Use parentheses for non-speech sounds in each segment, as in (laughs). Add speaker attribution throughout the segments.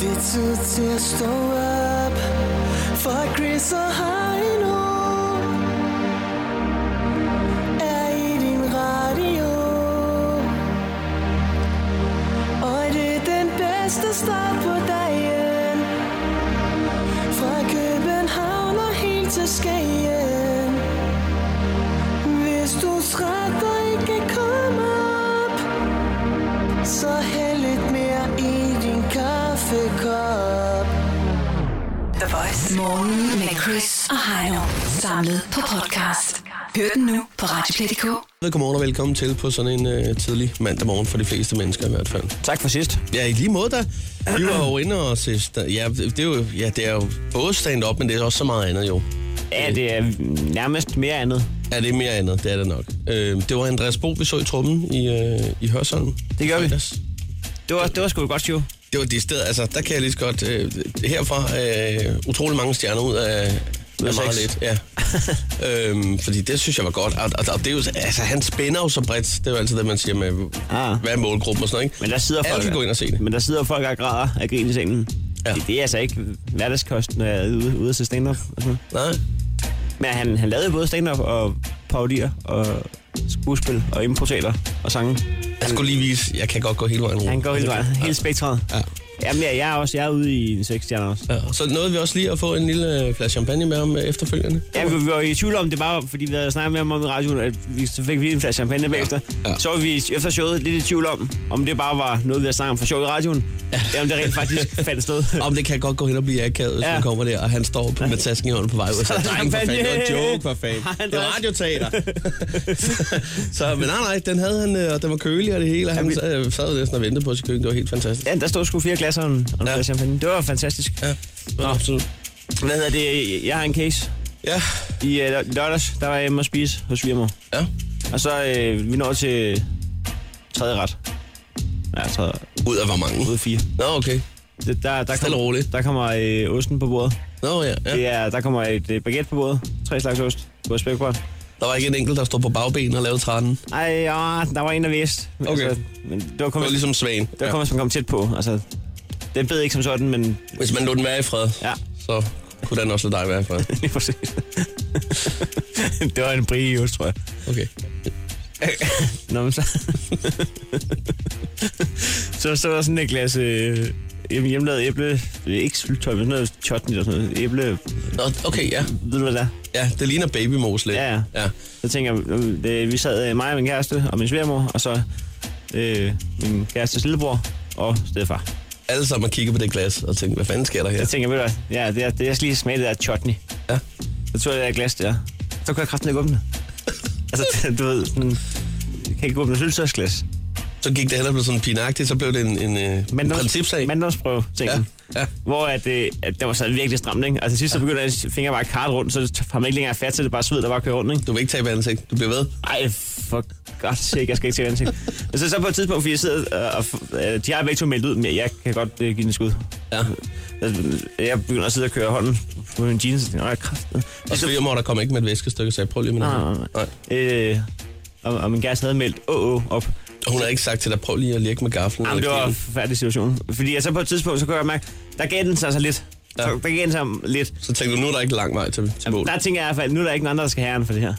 Speaker 1: altid til at stå op For Chris og Heino Er i din radio Og det er den bedste start på dagen Fra København og helt til Skagen Hvis du er træt og ikke kan komme op Så hæld lidt mere i din kaffekop
Speaker 2: The Voice. Morgen med Chris og Heino. Samlet på podcast. Hør den nu på Radioplay.dk.
Speaker 3: Godmorgen og velkommen til på sådan en øh, tidlig mandag morgen for de fleste mennesker i hvert fald.
Speaker 4: Tak for sidst.
Speaker 3: Ja, i lige måde da. Vi var jo inde og se... sta- Ja, det det er jo, ja, det er jo både stand-up, men det er også så meget andet jo.
Speaker 4: Ja, det er nærmest mere andet.
Speaker 3: Ja, det er mere andet, det er det nok. Øh, det var Andreas Bo, vi så i trummen i, øh, i Hørsholm.
Speaker 4: Det gør vi.
Speaker 3: Fredags.
Speaker 4: Det var, det var sgu et godt show.
Speaker 3: Det var det sted, altså der kan jeg lige så godt... Øh, herfra øh, utrolig mange stjerner ud af,
Speaker 4: Ud af
Speaker 3: af meget lidt.
Speaker 4: seks. (laughs)
Speaker 3: Ja. øhm, fordi det synes jeg var godt. Og, og, og det er jo, altså, han spænder jo så bredt. Det er jo altid det, man siger med,
Speaker 4: Ah.
Speaker 3: hvad er målgruppen og sådan noget, ikke?
Speaker 4: Men der sidder folk,
Speaker 3: Alle kan gå ind og se det.
Speaker 4: Men der sidder folk og græder af grin i sengen.
Speaker 3: Ja.
Speaker 4: Ja. Det, det er altså ikke hverdagskost, når jeg er ude, ude til stand-up. og sådan.
Speaker 3: Nej.
Speaker 4: Men han, han lavede både stand-up og parodier og skuespil og improteater og sange.
Speaker 3: Jeg skulle lige vise, jeg kan godt gå hele vejen rundt.
Speaker 4: Han går hele vejen, hele spektret.
Speaker 3: Ja.
Speaker 4: Jamen, ja, jeg er også jeg er ude i en sekstjerne også.
Speaker 3: Ja, så nåede vi også lige at få en lille øh, flaske champagne med ham øh, efterfølgende.
Speaker 4: Ja, vi, vi var i tvivl om, det bare var, fordi vi havde snakket med ham om i radioen, at vi, så fik vi en flaske champagne bagefter.
Speaker 3: Ja.
Speaker 4: Ja. Så var vi efter showet lidt i tvivl om, om det bare var noget, vi havde snakket om for show i radioen. Ja. Om det rent
Speaker 3: (laughs)
Speaker 4: faktisk fandt sted.
Speaker 3: Om det kan godt gå hen og blive akavet, hvis ja.
Speaker 4: Ja.
Speaker 3: man kommer der, og han står på, med tasken i hånden på vej ud og siger,
Speaker 4: Så er der
Speaker 3: "Dreng, for fanden, det var en
Speaker 4: champagne."
Speaker 3: joke, for fanden.
Speaker 4: Hej,
Speaker 3: Det var
Speaker 4: Andreas.
Speaker 3: radioteater. (laughs) så, men nej, nej, den havde han, øh, og den var kølig og det hele, og han sad, øh, sad næsten og ventede på sit køkken. Det var helt fantastisk.
Speaker 4: Ja, der stod sgu fire glasser og en og en
Speaker 3: Ja.
Speaker 4: flaske champagne. Det var fantastisk.
Speaker 3: Ja, Nå. absolut.
Speaker 4: Hvad hedder det? Jeg har en case.
Speaker 3: Ja,
Speaker 4: I øh, lø- lørdags, der var jeg hjemme og spise hos Svigermor.
Speaker 3: ja.
Speaker 4: Og så øh, vi når til tredje ret. Ja, tredje ret.
Speaker 3: Ud af hvor mange?
Speaker 4: Ude af fire.
Speaker 3: Nå, okay.
Speaker 4: Det, der,
Speaker 3: Stille
Speaker 4: der,
Speaker 3: og
Speaker 4: kommer,
Speaker 3: roligt.
Speaker 4: der kommer øh, osten på bordet.
Speaker 3: Nå, ja, ja.
Speaker 4: Det er, der kommer et øh, baguette på bordet. Tre slags ost. Både spækbræt.
Speaker 3: Der var ikke en enkelt, der stod på bagben og lavede trænen. Det
Speaker 4: Ej, ja, der var en, der vidste. Men
Speaker 3: Okay.
Speaker 4: Altså, men det var kommet,
Speaker 3: var ligesom svagen.
Speaker 4: det var kommet, som kom tæt på. Altså, den bed ikke som sådan, men
Speaker 3: Hvis man lod den være i fred,
Speaker 4: ja, (laughs)
Speaker 3: så kunne den også lade dig være i fred.
Speaker 4: lige præcis. det var en brie just, tror jeg.
Speaker 3: Okay.
Speaker 4: Nå, men så... så stod der sådan et glas øh, hjem- hjemmelavet æble... det er Ikke syltøj, men sådan noget chutney eller sådan noget. Æble...
Speaker 3: Nå, okay, ja.
Speaker 4: Ved du, hvad det er?
Speaker 3: Ja, det ligner babymos lidt.
Speaker 4: Ja, ja.
Speaker 3: ja.
Speaker 4: Så tænker jeg, øh, det, vi sad øh, mig og min kæreste og min svigermor, og så øh, min kærestes lillebror og stedfar.
Speaker 3: Alle sammen har kigget på det glas og tænkt, hvad fanden sker der her?
Speaker 4: Jeg tænker, ved du hvad, ja, det er, det er, jeg skal lige smage det der chutney.
Speaker 3: Ja.
Speaker 4: Så tog jeg det der glas der. Så kunne jeg kraften ikke åbne det. altså, (laughs) du ved, sådan, jeg kan ikke åbne et syltøjsglas.
Speaker 3: Så gik det heller blev sådan pinagtigt, så blev det en, en, øh, en principsag.
Speaker 4: Manddomsprøve, tænker
Speaker 3: ja,
Speaker 4: ja.
Speaker 3: ja.
Speaker 4: Hvor at, øh, at der var sådan virkelig stramt, ikke? Og til sidst så begyndte hans fingre bare at karte rundt, så har man ikke længere fat til det, bare sved, der bare kører rundt, ikke?
Speaker 3: Du vil ikke tabe ansigt, du bliver ved.
Speaker 4: Ej, for godt sikkert, jeg skal ikke til ansigt. Og så, så på et tidspunkt, fordi jeg sidder øh, og... f- Øh, de har begge to meldt ud, men jeg kan godt øh, give den et skud.
Speaker 3: Ja.
Speaker 4: Altså, Jeg begynder at sidde og køre hånden på min jeans, og tænker, nej, kraft.
Speaker 3: Og svigermor, der kom ikke med et væskestykke, så jeg prøv lige med
Speaker 4: Nej,
Speaker 3: noget.
Speaker 4: nej,
Speaker 3: Nej.
Speaker 4: Øh, og, og min kæreste havde meldt åh, åh, op.
Speaker 3: Og Hun har ikke sagt til dig, prøv lige at lirke med gaflen.
Speaker 4: Jamen, det
Speaker 3: eller
Speaker 4: var en
Speaker 3: kniven.
Speaker 4: forfærdelig situation. Fordi jeg så på et tidspunkt, så kunne jeg mærke, der gav den sig altså lidt.
Speaker 3: Ja.
Speaker 4: Ja. Der gav den sig lidt.
Speaker 3: Så tænkte du, nu er der ikke lang vej til, til mål.
Speaker 4: Der tænker jeg i hvert fald, nu er der ikke nogen andre, der skal have æren for det her.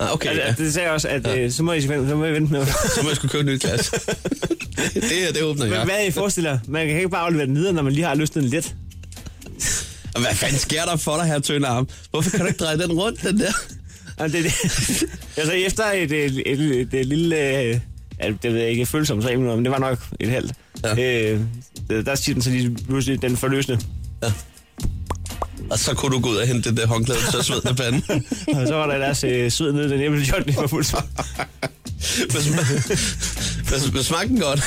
Speaker 3: Ah, okay,
Speaker 4: Altså,
Speaker 3: ja.
Speaker 4: Det sagde jeg også, at øh, så, må I, så må I vente med.
Speaker 3: (laughs) Så må jeg skulle købe et nyt
Speaker 4: (laughs)
Speaker 3: glas. det her, det åbner
Speaker 4: Men
Speaker 3: jeg.
Speaker 4: hvad I forestiller? Man kan ikke bare aflevere den videre, når man lige har løsnet den lidt.
Speaker 3: Og hvad fanden sker der for dig, her tynde arm? Hvorfor kan du ikke dreje den rundt, den der?
Speaker 4: Jamen,
Speaker 3: (laughs)
Speaker 4: det, det. altså efter et, et, et, et, et lille, øh, ja, det ved jeg ikke, følsomt tre minutter, men det var nok et halvt.
Speaker 3: Ja.
Speaker 4: Ja. Øh, der- der siger den så lige pludselig den forløsende.
Speaker 3: Og så kunne du gå ud og hente det der håndklæde, så sved af panden.
Speaker 4: Og så var der deres øh, sød nede, den æblejot, det var fuldt.
Speaker 3: Hvad sm- Hvad sm- hvad smagte den godt?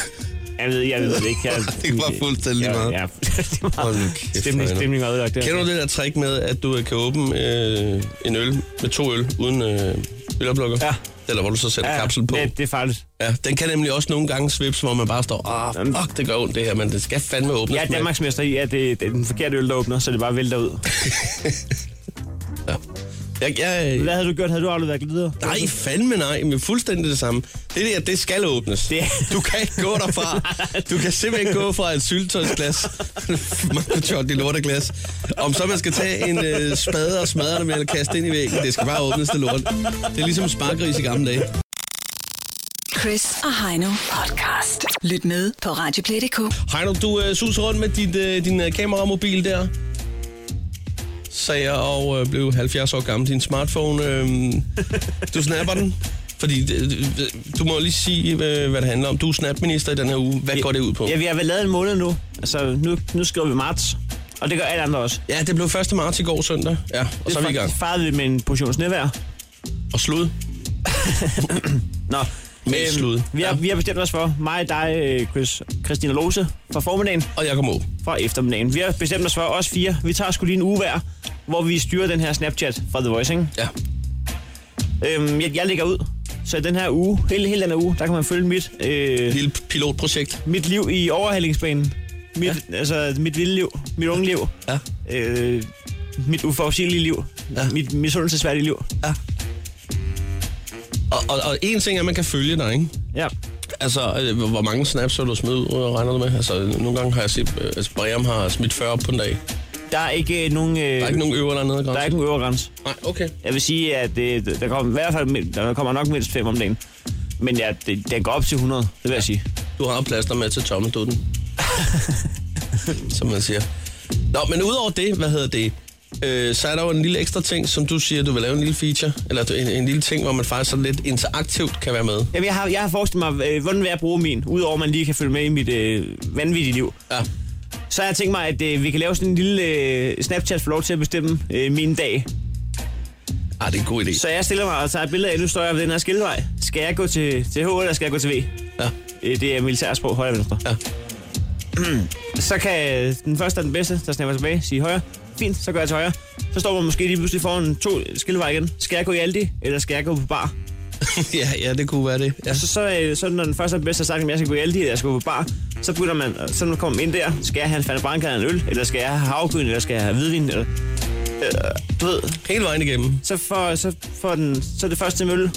Speaker 4: Jeg ved, jeg ved det ikke. Jeg,
Speaker 3: (laughs) Det var fuldstændig
Speaker 4: jeg-
Speaker 3: meget.
Speaker 4: Ja, (laughs) det var
Speaker 3: Hold nu
Speaker 4: meget.
Speaker 3: kæft,
Speaker 4: Stemning,
Speaker 3: Heino.
Speaker 4: stemning var ødelagt der.
Speaker 3: Kender du det der trick med, at du øh, kan åbne øh, en øl med to øl uden øh, øloplukker?
Speaker 4: Ja.
Speaker 3: Eller hvor du så sætter ja, kapslen på.
Speaker 4: Det, det er farligt.
Speaker 3: Ja, den kan nemlig også nogle gange svips, hvor man bare står, ah, fuck, det gør ondt det her, men det skal fandme åbnes.
Speaker 4: Jeg er
Speaker 3: med."
Speaker 4: Danmarksmester i, at det, det er den forkerte øl, der åbner, så det bare vælter ud.
Speaker 3: Jeg, jeg,
Speaker 4: Hvad havde du gjort? Havde du afleveret glider?
Speaker 3: nej, fandme nej, men fuldstændig det samme. Det der, det skal åbnes.
Speaker 4: Det-
Speaker 3: Du kan ikke gå derfra. Du kan simpelthen ikke gå fra et (laughs) syltøjsglas, mangochot i lorteglas. Om så man skal tage en øh, spade og smadre det med, eller kaste det ind i væggen, det skal bare åbnes det lort. Det er ligesom sparkris i gamle dage.
Speaker 2: Chris og Heino podcast. Lyt med på Radioplay.dk.
Speaker 3: Heino, du øh, suser rundt med dit, øh, din øh, kameramobil der, sagde jeg, og øh, blev 70 år gammel. Din smartphone, (laughs) øh, du snapper den. Fordi øh, øh, du må lige sige, øh, hvad det handler om. Du er snapminister i den her uge. Hvad går det ud på?
Speaker 4: Ja, vi har vel lavet en måned nu. Altså, nu, nu skriver vi marts. Og det gør alle andre også.
Speaker 3: Ja, det blev 1. marts i går søndag. Ja, og så er vi i gang.
Speaker 4: Farede vi med en portion snevejr.
Speaker 3: Og slud.
Speaker 4: Nå, Øhm,
Speaker 3: Med slud.
Speaker 4: Vi har,
Speaker 3: Ja.
Speaker 4: vi har bestemt os for, mig, dig, øh, Chris, Christina Lose fra formiddagen,
Speaker 3: Og jeg kom
Speaker 4: fra eftermiddagen. Vi har bestemt os for, os fire, vi tager sgu lige en uge hver, hvor vi styrer den her Snapchat fra The Voice, ikke?
Speaker 3: Ja.
Speaker 4: Øhm, jeg, jeg lægger ud, så i den her uge, hele, hele den her uge, der kan man følge mit, øh,
Speaker 3: Lille pilotprojekt.
Speaker 4: mit liv i overhalingsbanen. Mit, ja. Altså, mit vilde liv, mit unge liv,
Speaker 3: Ja.
Speaker 4: øh, mit uforudsigelige liv,
Speaker 3: Ja.
Speaker 4: ja. mit misundelsesværdige liv.
Speaker 3: Ja. Og, og, og en ting er, at man kan følge dig, ikke?
Speaker 4: Ja.
Speaker 3: Altså, øh, hvor hvor mange snaps har du smidt ud, øh, regner du med? Altså, nogle gange har jeg set, øh, altså, Brian har smidt 40 op på en dag.
Speaker 4: Der er ikke øh, nogen... Øh,
Speaker 3: Der er ikke nogen øver dernede,
Speaker 4: der er
Speaker 3: ikke...
Speaker 4: ikke nogen øvre grænse.
Speaker 3: Nej, okay.
Speaker 4: Jeg vil sige, at det, der kommer i hvert fald mind- der kommer nok mindst fem om dagen. Men ja, det, den går op til 100, det vil jeg sige.
Speaker 3: Du har plaster med til
Speaker 4: (laughs)
Speaker 3: tommeldutten. som man siger. Nå, men udover det, hvad hedder det? Øh, så er der jo en lille ekstra ting, som du siger, du vil lave en lille feature, eller du- en, en lille ting, hvor man faktisk så lidt interaktivt kan være med.
Speaker 4: Jamen, jeg har, jeg har forestillet mig, øh, hvordan vil jeg bruge min, udover at man lige kan følge med i mit øh, vanvittige liv.
Speaker 3: Ja,
Speaker 4: Så har jeg tænkt mig, at øh, vi kan lave sådan en lille øh, Snapchat for lov til at bestemme øh, min dag.
Speaker 3: ah, det er en god idé.
Speaker 4: Så jeg stiller mig og tager et billede af, nu står jeg ved den her skildvej. Skal jeg gå til, til H, eller skal jeg gå til V?
Speaker 3: Ja, (laughs)
Speaker 4: Øh, det er militærsprog, højre og venstre.
Speaker 3: Ja.
Speaker 4: (clears throat) så kan øh, den første og den bedste, der snapper tilbage, sige højre. Fint, så går jeg til højre. Så står man måske lige pludselig foran to skilvej igen. Skal jeg gå i Aldi, eller skal jeg gå på bar?
Speaker 3: ja, ja det kunne være det. Ja.
Speaker 4: Så, så, øh, så når den første og den bedste har sagt, at jeg skal gå i Aldi, eller jeg skal gå på bar, så begynder man, og så når man kommer ind der, skal jeg have en fanden branca eller en øl, eller skal jeg have havgryn, eller skal jeg have hvidvin, eller... Øh, du ved,
Speaker 3: Hele vejen igennem.
Speaker 4: så for, så for den, så det første mølle,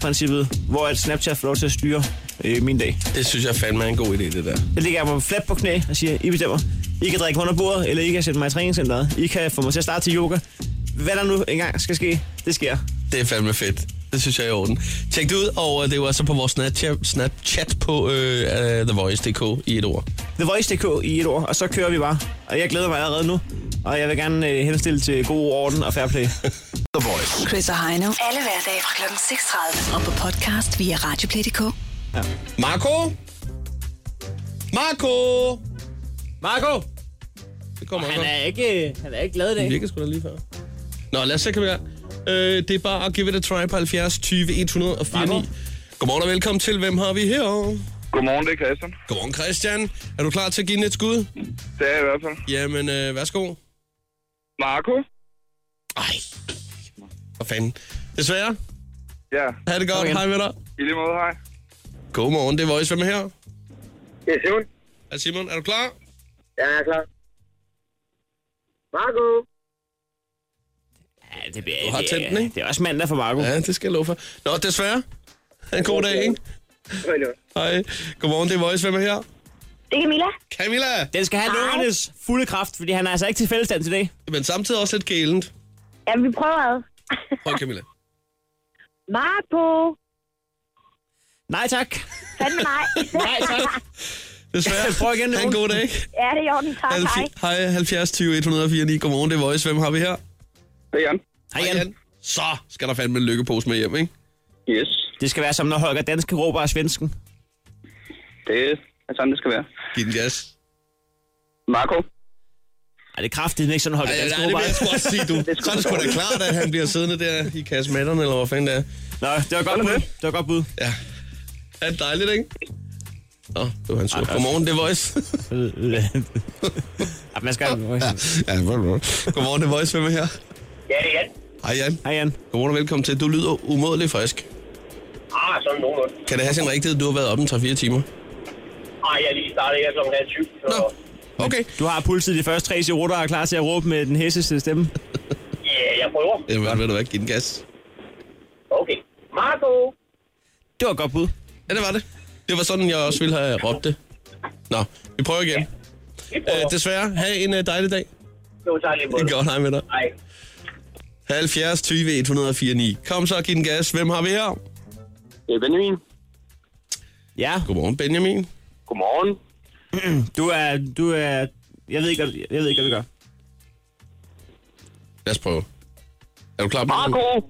Speaker 4: princippet, hvor at Snapchat får lov til at styre øh, min dag.
Speaker 3: Det synes jeg fandme er en god idé, det der.
Speaker 4: Jeg ligger mig flat på knæ og siger, I bestemmer. I kan drikke under bordet, eller I kan sætte mig i træningscenteret. I kan få mig til at starte til yoga. Hvad der nu engang skal ske, det sker.
Speaker 3: Det er fandme fedt. Det synes jeg er i orden. Tjek det ud, og øh, det var så på vores Snapchat, Snapchat på øh, øh, TheVoice.dk i et ord.
Speaker 4: The Voice.dk i et ord, og så kører vi bare. Og jeg glæder mig allerede nu. Og jeg vil gerne øh, henstille til god orden og fair play.
Speaker 5: The Voice.
Speaker 2: Chris og Heino. Alle hverdage fra kl. 6.30. Og på podcast via Radioplay.dk.
Speaker 3: Marco? Marco? Marco? Det kommer han
Speaker 4: (laughs) Han er ikke, han er ikke glad i
Speaker 3: Det
Speaker 4: dag.
Speaker 3: virker sgu da lige før. Nå, lad os se, kan vi gøre. øh, Det er bare at give it a try på 70 20 104 9.
Speaker 4: Marco?
Speaker 3: Godmorgen og velkommen til. Hvem har vi her?
Speaker 6: Godmorgen, det er Christian.
Speaker 3: Godmorgen, Christian. Er du klar til at give den et skud?
Speaker 6: Det er jeg i hvert fald.
Speaker 3: Jamen, øh, værsgo.
Speaker 6: Marco?
Speaker 3: Ej. For fanden. Desværre.
Speaker 6: Ja,
Speaker 3: Ha' det godt.
Speaker 4: igen.
Speaker 3: Hej med dig.
Speaker 6: i lige måde, hej.
Speaker 3: Godmorgen, det er Voice. Hvem er her?
Speaker 7: Det er Simon.
Speaker 3: Er Simon, er du klar?
Speaker 7: Ja, jeg er klar. Marco!
Speaker 4: Ja, det, bliver,
Speaker 3: Du har
Speaker 4: det,
Speaker 3: tændt den, ikke?
Speaker 4: det er også mandag for Marco. Ja.
Speaker 3: Ja, det skal jeg love for. Nå, desværre. Ha' En god dag, ikke? Hej. Godmorgen, det er Voice. Hvem er her?
Speaker 8: Det er Camilla.
Speaker 3: Camilla!
Speaker 4: Den skal have lungernes fulde kraft, fordi han er altså ikke til fællestand til dag.
Speaker 3: Men samtidig også lidt gælent.
Speaker 8: Ja, vi prøver ad.
Speaker 3: Prøv, Camilla.
Speaker 8: Marco.
Speaker 4: Nej tak.
Speaker 8: Fandme nej.
Speaker 4: Nej tak.
Speaker 3: (laughs) Desværre.
Speaker 4: Prøv igen,
Speaker 3: Ha' en god dag.
Speaker 8: (laughs) ja, det er i orden. Tak, hej.
Speaker 3: Halvf- Hej, 70 20 104 9. Godmorgen, det er Voice. Hvem har vi her?
Speaker 6: Det er Jan.
Speaker 4: Hej Jan.
Speaker 3: Så skal der fandme en lykkepose med hjem, ikke?
Speaker 6: Yes,
Speaker 4: Det skal være som når Holger Danske råber af svensken.
Speaker 6: det er altså sådan, det skal være.
Speaker 3: Giv den gas.
Speaker 6: Marco?
Speaker 4: Ej, det er kraftigt, ikke sådan Holger
Speaker 3: Ej,
Speaker 4: Danske
Speaker 3: nej, det
Speaker 4: råber.
Speaker 3: vil jeg sgu også sige, du.
Speaker 6: Det er sgu
Speaker 3: Så er (laughs) det sgu da klart, at han bliver siddende der i kasmatterne, eller hvor fanden det er.
Speaker 4: Nå, det var godt
Speaker 6: Sådan er
Speaker 4: bud.
Speaker 6: det.
Speaker 4: Det var godt bud.
Speaker 3: Ja. Er det dejligt, ikke? Nå, det var han sur. Godmorgen, det er Voice.
Speaker 4: Ej, man skal...
Speaker 3: ja, Godmorgen, det er Voice. Hvem er her?
Speaker 7: Ja, det er Jan.
Speaker 3: Hej, Jan.
Speaker 4: Hej Jan.
Speaker 3: Godmorgen og velkommen til. Du lyder umådeligt frisk.
Speaker 7: Ah, sådan nogenlunde.
Speaker 3: Kan det have sin rigtighed, du har været oppe en 3-4 timer?
Speaker 7: Ah, jeg er lige startet her kl. halv syv. så-
Speaker 3: Nå, okay.
Speaker 4: Du har pulset de første tre serutter og er klar til at råbe med den hæseste stemme.
Speaker 7: Ja, Ja, jeg prøver.
Speaker 3: Jeg ved, ved du hvad, giv den gas.
Speaker 7: Okay. Marco!
Speaker 4: Det var et godt bud.
Speaker 3: Ja, det var det. Det var sådan, jeg også ville have råbt det. Nå, vi prøver igen.
Speaker 7: Vi
Speaker 3: Øh,
Speaker 7: prøver.
Speaker 3: desværre, have en øh, dejlig dag.
Speaker 7: Jo, tak lige på
Speaker 3: Det er (laughs) godt, hej med dig.
Speaker 7: Nej.
Speaker 3: 70 20 104 9. Kom så, giv den gas. Hvem har vi her?
Speaker 6: Det er Benjamin.
Speaker 4: Ja,
Speaker 3: Godmorgen, Benjamin.
Speaker 6: Godmorgen.
Speaker 4: du er... Du er jeg ved ikke, hvad, jeg ved ikke, hvad vi gør.
Speaker 3: Lad os prøve. Er du klar,
Speaker 6: Marco!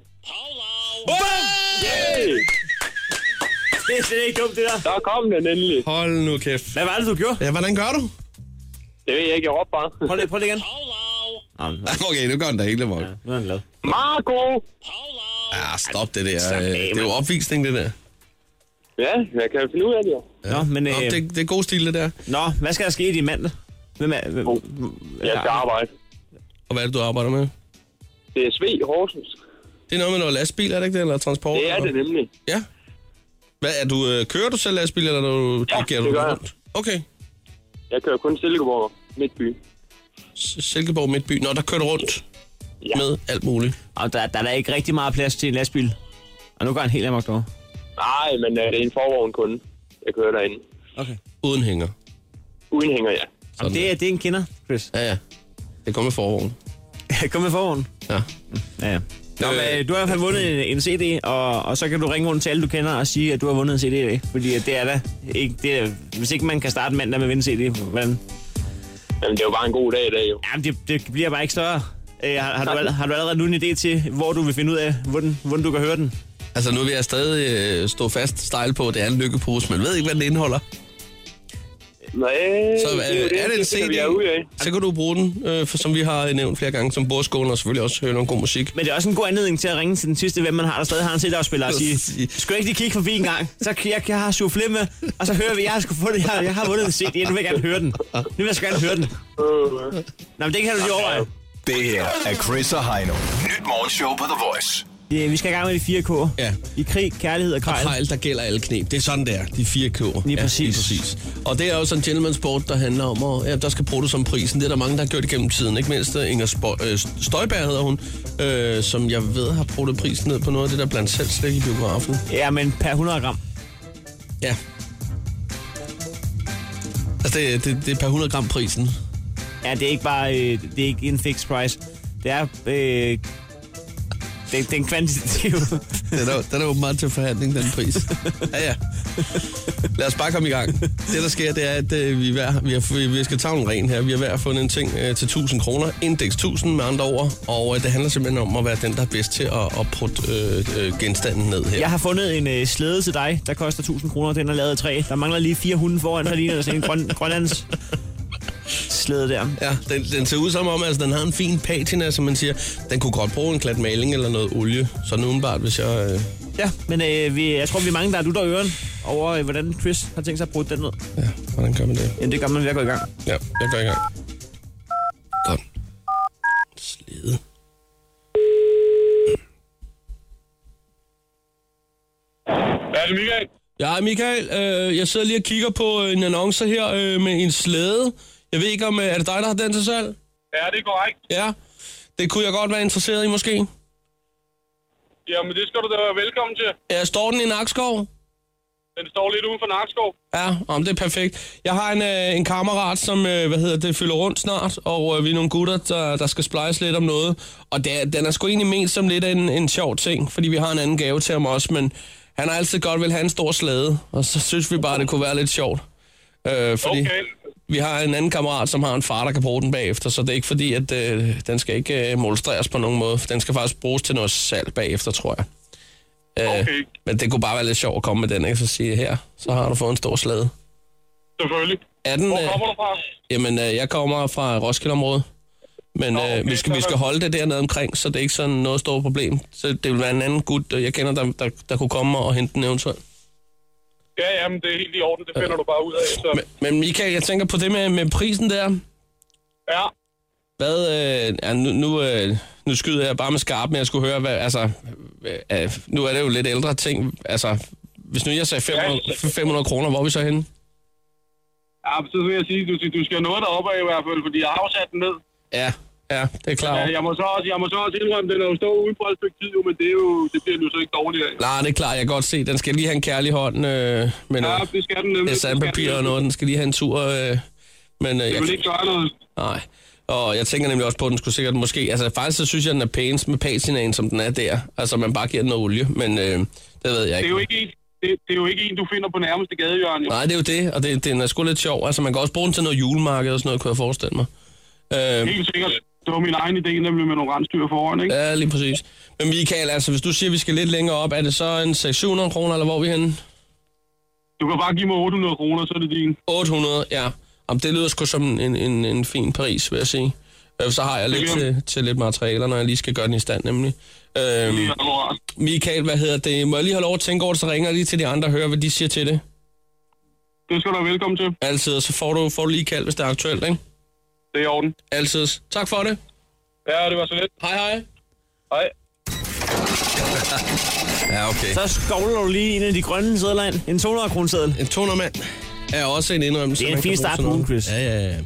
Speaker 4: Det er slet ikke dumt, det der.
Speaker 6: Der kom den endelig.
Speaker 3: Hold nu kæft.
Speaker 4: Hvad var det, du gjorde?
Speaker 3: Ja, hvordan gør du? (laughs)
Speaker 6: Det ved jeg ikke, jeg råbte bare.
Speaker 4: Prøv lige, prøv lige igen. Au, nu-
Speaker 3: Okay, nu går den da helt amok.
Speaker 4: Nu er han glad.
Speaker 6: Marco!
Speaker 3: Ja, stop det der.
Speaker 4: Slap af,
Speaker 3: øh, Det er jo
Speaker 4: mand.
Speaker 3: opvisning, det der.
Speaker 6: Ja, jeg kan finde ud af det jo.
Speaker 4: Nå, men...
Speaker 3: Nå,
Speaker 4: Øh,
Speaker 3: det, det er god stil, det der.
Speaker 4: Nå, hvad skal der ske i din mandag? Hvem er... Hvem,
Speaker 6: Jeg skal arbejde.
Speaker 3: Og hvad er det, du arbejder med?
Speaker 6: DSV Horsens.
Speaker 3: Det er noget med noget lastbil, er det ikke det? Eller transport?
Speaker 6: Det er
Speaker 3: eller?
Speaker 6: det nemlig.
Speaker 3: Ja. Hvad, er du, øh, kører du selv lastbil, eller er du,
Speaker 6: Ja,
Speaker 3: dirigerer
Speaker 6: det
Speaker 3: du
Speaker 6: gør jeg.
Speaker 3: rundt? Okay.
Speaker 6: Jeg kører kun Silkeborg Midtby.
Speaker 3: S- Silkeborg Midtby. Nå, der kører du rundt
Speaker 6: Ja.
Speaker 3: med alt muligt.
Speaker 4: Og der, der er da ikke rigtig meget plads til en lastbil. Og nu går han helt amok derovre.
Speaker 6: Nej, men øh, det er en forvogn kun. Jeg kører derinde.
Speaker 4: Okay.
Speaker 3: Uden hænger.
Speaker 6: Uden hænger, ja.
Speaker 4: Jamen, det, er, det er en kender, Chris.
Speaker 3: Ja, ja. Det kommer med forvogn.
Speaker 4: (laughs) Kom med forvognen.
Speaker 3: Ja.
Speaker 4: Ja, ja. Nå,
Speaker 3: Øh.
Speaker 4: men, øh, du har i hvert fald vundet en, en CD, og, og så kan du ringe rundt til alle, du kender, og sige, at du har vundet en CD i dag. Fordi at det er da ikke... Det er, hvis ikke man kan starte mandag med at vinde en CD, hvordan?
Speaker 6: Jamen, det er jo bare en god dag i dag, jo.
Speaker 4: Jamen, det, det bliver bare ikke større. Øh, har, har, du, al- har du allerede nu en idé til, hvor du vil finde ud af, hvordan, hvordan du kan høre den?
Speaker 3: Altså, nu vil jeg stadig øh, stå fast stejl på, at det er en lykkepose, men ved ikke, hvad den indeholder.
Speaker 6: Nej,
Speaker 3: Så øh, er det en
Speaker 6: finder
Speaker 3: CD,
Speaker 6: vi er ude af.
Speaker 3: så kan du bruge den, øh, for, som vi har nævnt flere gange, som bordskålen, og selvfølgelig også høre noget god musik.
Speaker 4: Men det er også en god anledning til at ringe til den sidste ven, man har, der stadig har en CD-afspiller og sige, skal du ikke lige kigge forbi en gang? Så kan jeg, jeg har soufflé med, og så hører vi, jeg har, sgu fundet, jeg, har- jeg har vundet en CD, nu vil jeg gerne høre den. Nu vil jeg sgu gerne høre den. Nå, men det kan du lige overveje.
Speaker 5: Det her er Chris og Heino. Nyt morgenshow på The Voice.
Speaker 4: Det, vi skal i gang med de fire K'er.
Speaker 3: Ja.
Speaker 4: I krig, kærlighed og krejl.
Speaker 3: Hejl, der gælder alle knep. Det er sådan der, de fire køber.
Speaker 4: Lige
Speaker 3: Ja, lige
Speaker 4: præcis.
Speaker 3: præcis. Og det er jo sådan en gentleman sport, der handler om, og ja, der skal bruges som prisen. Det er der mange, der har gjort igennem tiden. Ikke mindst øh, Inger Spo- øh, Støjberg hedder hun, øh, som jeg ved har brugt prisen ned på noget af det der blandt selv slik i biografen.
Speaker 4: Ja, men per 100 gram.
Speaker 3: Ja. Altså, det, det, det er per 100 gram prisen.
Speaker 4: Ja, det er ikke bare øh, det er ikke en fixed price. Det er... Øh, det, det er en kvantitativ...
Speaker 3: Den er, den er åbenbart til forhandling, den pris. Ja, ja. Lad os bare komme i gang. Det, der sker, det er, at øh, vi, hver, vi, har, vi, vi skal tage en ren her. Vi har hver fundet en ting øh, til 1000 kroner. Indeks 1000 med andre ord. Og øh, det handler simpelthen om at være den, der er bedst til at, at putte øh, øh, genstanden ned her.
Speaker 4: Jeg har fundet en øh, slæde til dig, der koster 1000 kroner. Den er lavet af træ. Der mangler lige fire hunde foran, så ligner der sådan en grøn, grønlands slæde der.
Speaker 3: Ja, den, den ser ud som om, altså den har en fin patina, som man siger. Den kunne godt bruge en klat maling eller noget olie. Så nu bare, hvis jeg... Øh,
Speaker 4: Ja, men øh, vi, jeg tror, vi er mange, der er du der øren over, øh, hvordan Chris har tænkt sig at bruge den ned.
Speaker 3: ja, hvordan gør man det?
Speaker 4: Jamen, det gør man ved at gå i gang.
Speaker 3: Ja, jeg går i gang. Godt. Slede.
Speaker 6: Ja, det er Michael.
Speaker 3: Ja, Michael, øh, jeg sidder lige og kigger på øh, en annonce her øh, med en slæde. Jeg ved ikke om, øh, er det dig, der har den til salg?
Speaker 6: Ja, det er korrekt.
Speaker 3: Ja, det kunne jeg godt være interesseret i måske.
Speaker 6: Jamen, det skal du da være velkommen til.
Speaker 3: Ja, Øh, står den i Nakskov?
Speaker 6: Den står lidt uden for Nakskov.
Speaker 3: Ja, om det er perfekt. Jeg har en, øh, en kammerat, som øh, hvad hedder det, fylder rundt snart, og øh, vi er nogle gutter, der, der skal splice lidt om noget. Og det, er- den er sgu egentlig ment som lidt en, en sjov ting, fordi vi har en anden gave til ham også, men han har altid godt vil have en stor slæde, og så synes vi bare, det kunne være lidt sjovt. Øh, fordi
Speaker 6: Okay.
Speaker 3: Vi har en anden kammerat, som har en far, der kan bruge den bagefter, så det er ikke fordi, at øh, den skal ikke øh, monstreres på nogen måde. Den skal faktisk bruges til noget salg bagefter, tror jeg. Øh,
Speaker 6: Okay.
Speaker 3: Men det kunne bare være lidt sjovt at komme med den, ikke? Så sige, her, så har du fået en stor slæde.
Speaker 6: Selvfølgelig.
Speaker 3: Er den,
Speaker 6: Hvor
Speaker 3: øh,
Speaker 6: kommer du fra?
Speaker 3: jamen, øh, jeg kommer fra Roskildeområdet, men
Speaker 6: Nå,
Speaker 3: øh,
Speaker 6: okay,
Speaker 3: vi, skal, vi
Speaker 6: så-
Speaker 3: skal holde det dernede omkring, så det er ikke sådan noget stort problem. Så det vil være en anden gut, øh, jeg kender, der, der, der kunne komme og hente den eventuelt.
Speaker 6: Ja, jamen, det er helt i orden. Det finder du bare ud af. Så.
Speaker 3: Men, men Michael, jeg tænker på det med, med prisen der.
Speaker 6: Ja,
Speaker 3: Hvad, øh, ja, nu, nu, øh, nu skyder jeg bare med skarp, men jeg skulle høre, hvad, altså, øh, øh, nu er det jo lidt ældre ting, altså, hvis nu jeg sagde 500,
Speaker 6: Ja.
Speaker 3: 500 kroner, hvor er vi så henne?
Speaker 6: ja men så vil jeg sige, du, du skal nå dig op af i hvert fald, fordi jeg har jo sat den ned.
Speaker 3: Ja, Ja, det er klart.
Speaker 6: Ja, jeg må så også, jeg må så også indrømme, den er jo stået ude på et stykke tid, jo, men det, er jo, det bliver nu så ikke dårligt af.
Speaker 3: Nej, det er klart, jeg kan godt se. Den skal lige have en kærlig hånd øh, med
Speaker 6: Ja,
Speaker 3: noget,
Speaker 6: det skal den nemlig.
Speaker 3: ja,
Speaker 6: Det skal den
Speaker 3: sandpapir og
Speaker 6: nemlig.
Speaker 3: noget. Den skal lige have en tur. Øh, men øh,
Speaker 6: Det
Speaker 3: jeg
Speaker 6: vil
Speaker 3: kan,
Speaker 6: ikke gøre noget.
Speaker 3: Nej. Og jeg tænker nemlig også på, at den skulle sikkert måske... Altså faktisk så synes jeg, den er pænest med patinaen, som den er der. Altså man bare giver den noget olie, men øh, det ved jeg
Speaker 6: Det
Speaker 3: ikke.
Speaker 6: er jo ikke en, det, det er jo ikke en, du finder på nærmeste gadehjørne. Jo.
Speaker 3: Nej, det er jo det, og det, den er sgu lidt sjov. Altså man kan også bruge den til noget julemarked og sådan noget, kunne jeg forestille mig. Øh,
Speaker 6: Helt sikkert. Det var min egen idé, nemlig med nogle rensdyr foran, ikke?
Speaker 3: ja, lige præcis. Men Michael, altså hvis du siger, at vi skal lidt længere op, er det så en 600 kroner, eller hvor er vi henne?
Speaker 6: Du kan bare give mig 800 kroner, så er det din.
Speaker 3: 800, ja. Jamen, det lyder sgu som en, en, en fin pris, vil jeg sige. Øh, så har jeg lidt
Speaker 6: Det gør
Speaker 3: til, til lidt materialer, når jeg lige skal gøre den i stand, nemlig.
Speaker 6: Det
Speaker 3: Øhm,
Speaker 6: er akkurat.
Speaker 3: Michael, hvad hedder det? Må jeg lige have lov at tænke over det, så ringer jeg lige til de andre og hører, hvad de siger til det.
Speaker 6: Det skal du være velkommen til.
Speaker 3: Altid, og så får du, får du lige kald, hvis det er aktuelt, ikke?
Speaker 6: Det er i orden.
Speaker 3: Altid. Tak for det.
Speaker 6: Ja, det var så lidt.
Speaker 3: Hej, hej.
Speaker 6: Hej.
Speaker 3: Ja, okay.
Speaker 4: Så skovler du lige en af de grønne sædler ind. En 200 kroner seddel.
Speaker 3: En 200 mand er også en indrømmelse.
Speaker 4: Det er en
Speaker 3: man kan
Speaker 4: fin
Speaker 3: bruge
Speaker 4: start
Speaker 3: til
Speaker 4: på
Speaker 3: noget.
Speaker 4: ugen, Chris.
Speaker 3: Ja, ja,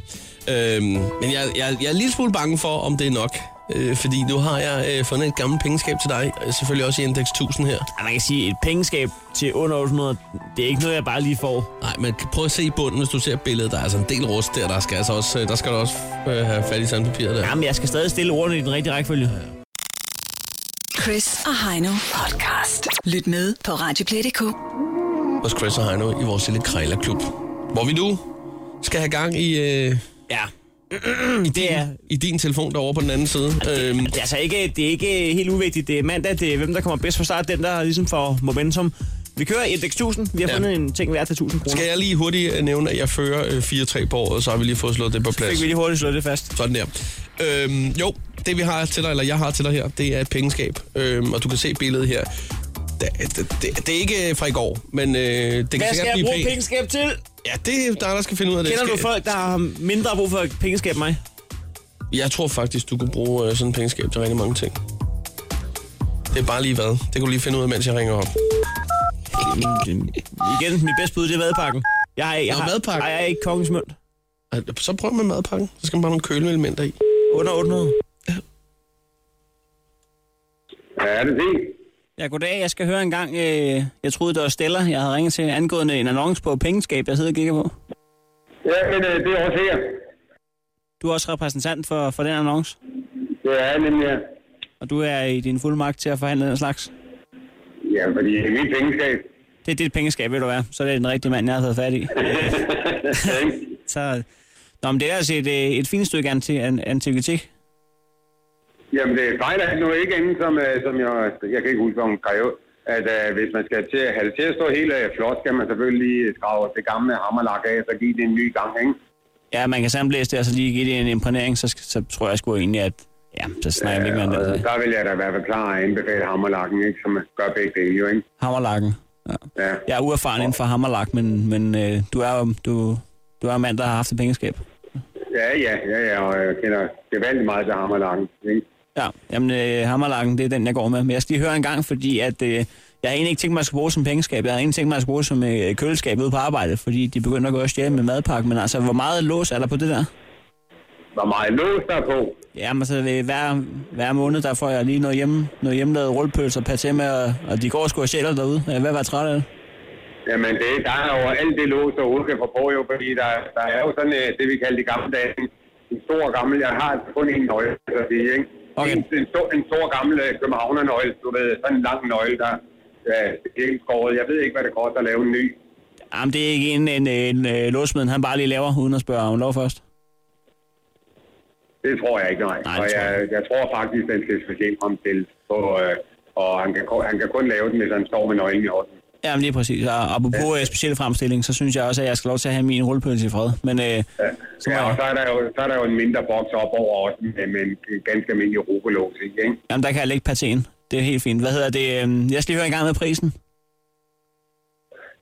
Speaker 3: ja. Øhm, men jeg, jeg, jeg er en lille smule bange for, om det er nok. Øh, fordi nu har jeg øh, fundet et gammelt pengeskab til dig. øh, Selvfølgelig også i Index 1000 her.
Speaker 4: Ej, man kan sige, et pengeskab til under 800, det er ikke noget, jeg bare lige får.
Speaker 3: Nej, men prøv at se i bunden, hvis du ser billedet. Der er altså en del rust der. Der skal, altså også, øh, der skal du også øh, have fat i sandpapiret der.
Speaker 4: Jamen, jeg skal stadig stille ordene i den rigtige rækkefølge.
Speaker 2: Chris og Heino podcast. Lyt med på Radioplay.dk.
Speaker 3: hos Chris og Heino i vores lille krejlerklub, hvor vi nu skal have gang i, øh,
Speaker 4: Ja. det er,
Speaker 3: i din telefon derovre på den anden side. Øhm,
Speaker 4: det er altså ikke, det er ikke helt uvigtigt. Det er mandag, det er hvem, der kommer bedst fra start. Den, der ligesom får momentum. Vi kører indeks 1000. Vi har
Speaker 3: Ja.
Speaker 4: fundet en ting værd til 1000 kroner.
Speaker 3: skal jeg lige hurtigt øh, nævne, at jeg fører øh, 4-3 på året, så har vi lige fået slået det på plads.
Speaker 4: Fik vi lige hurtigt slå det fast.
Speaker 3: Sådan der. Øhm, jo, det vi har til dig, eller jeg har til dig her, det er et pengeskab. Øhm, og du kan se billedet her. Det, det, det, det er ikke øh, fra i går, men øh, det kan
Speaker 4: Hvad skal
Speaker 3: sikkert
Speaker 4: jeg
Speaker 3: blive
Speaker 4: bruge
Speaker 3: pænt.
Speaker 4: pengeskab til?
Speaker 3: Ja, det er dig, der skal finde ud af det.
Speaker 4: Kender du
Speaker 3: Skal-
Speaker 4: folk, der har mindre brug for pengeskab end mig?
Speaker 3: Jeg tror faktisk, du kunne bruge øh, sådan en pengeskab til rigtig mange ting. Det er bare lige hvad. Det kan du lige finde ud af, mens jeg ringer op.
Speaker 4: Igen, mit bedste bud, det er madpakken. Jeg, har- jeg, jeg,
Speaker 3: Nå, madpakken.
Speaker 4: Ej, jeg er ikke kongens mønt.
Speaker 3: Ej, Så prøv med madpakken. Så skal man bare have nogle køleelementer i.
Speaker 4: Under 800.
Speaker 7: Ja, det er det.
Speaker 4: Ja, goddag. Jeg skal høre en gang. Øh, jeg troede, det var Stella. Jeg havde ringet til angående en annonce på pengeskab, jeg sidder og kigger på.
Speaker 7: Ja, men øh, det er også her.
Speaker 4: Du er også repræsentant for, for den annonce,
Speaker 7: Det er jeg nemlig her.
Speaker 4: og du er i din fulde magt til at forhandle den slags.
Speaker 7: Ja, fordi det er mit pengeskab.
Speaker 4: Det er dit pengeskab, ved du hvad. Så er det den rigtige mand, jeg har fået fat i.
Speaker 7: Ikke?
Speaker 4: Så, nå, men det er altså et, øh, et fint stykke anti, an, antikvitet.
Speaker 7: Jamen, det fejler han nu ikke inden, som, øh, som jeg, jeg kan ikke huske, om hun skrev, at øh, hvis man skal til, have det til at stå helt øh, flot, skal man selvfølgelig lige øh, skrave det gamle hammerlak af, så give det en ny gang, ikke?
Speaker 4: Ja, man kan sammenblæse det, og så lige give det en imprægnering, så, sk- så tror jeg sgu egentlig, at ja, så snakker vi ikke mere om
Speaker 7: og
Speaker 4: den
Speaker 7: der vil jeg da i hvert fald klar at anbefale hammerlakken, ikke? Som gør begge dele, jo, ikke?
Speaker 4: hammerlakken. Ja.
Speaker 7: Ja.
Speaker 4: Jeg er uerfaren inden for hammerlak, men, men øh, du er jo du, du er en mand, der har haft et pengeskab.
Speaker 7: Ja, ja, ja, ja, og jeg kender gevaldigt meget til hammerlakken, ikke?
Speaker 4: Ja, jamen øh, hammerlakken, det er den, jeg går med. Men jeg skal lige høre en gang, fordi at, øh, jeg havde egentlig ikke tænkt mig at skulle bruge som pengeskab. Jeg havde egentlig tænkt mig at skulle bruge som øh, køleskab ude på arbejde, fordi de begynder at gå og stjæle med madpakke. Men altså, hvor meget lås er der på det der?
Speaker 7: Hvor meget lås der er på.
Speaker 4: Jamen altså, øh, hver, hver måned, der får jeg lige noget, hjemme, noget hjemmelavet rullepølser, paté med, og, og de går sgu og sjæler derude. Jeg er ved at være træt af det.
Speaker 7: Jamen, det, der er jo alt det lås, der overhovedet kan få på, jo, fordi der, der er jo sådan øh, det, vi kalder de gamle dage. En stor gammel, jeg har kun en nøgle, så det er, ikke?
Speaker 4: Okay.
Speaker 7: En, en, stor, en stor gammel øh, københavnernøgle, du ved, sådan en lang nøgle, der øh, det er helt skåret. Jeg ved ikke, hvad det koster at lave en ny.
Speaker 4: Jamen, det er ikke en, en, en, en låsmeden, han bare lige laver, uden at spørge om lov først.
Speaker 7: Det tror jeg ikke, nej.
Speaker 4: Nej, det
Speaker 7: og
Speaker 4: tror
Speaker 7: jeg,
Speaker 4: jeg
Speaker 7: jeg tror faktisk, den skal specielt omstilles på, øh, og han kan, kun- han kan kun lave den, hvis han står med nøglen i orden.
Speaker 4: Jamen lige præcis. Og apropos ja. speciel fremstilling, så synes jeg også, at jeg skal lov til at have min rullepølse i fred. Men øh, så må
Speaker 7: Ja, og
Speaker 4: jeg,
Speaker 7: så er, der jo, så er der jo en mindre boks op over også med, med en ganske almindelig europalås, i, ikke?
Speaker 4: jamen, der kan jeg lægge patéen. Det er helt fint. Hvad hedder det? øhm, Jeg skal lige høre en gang med prisen.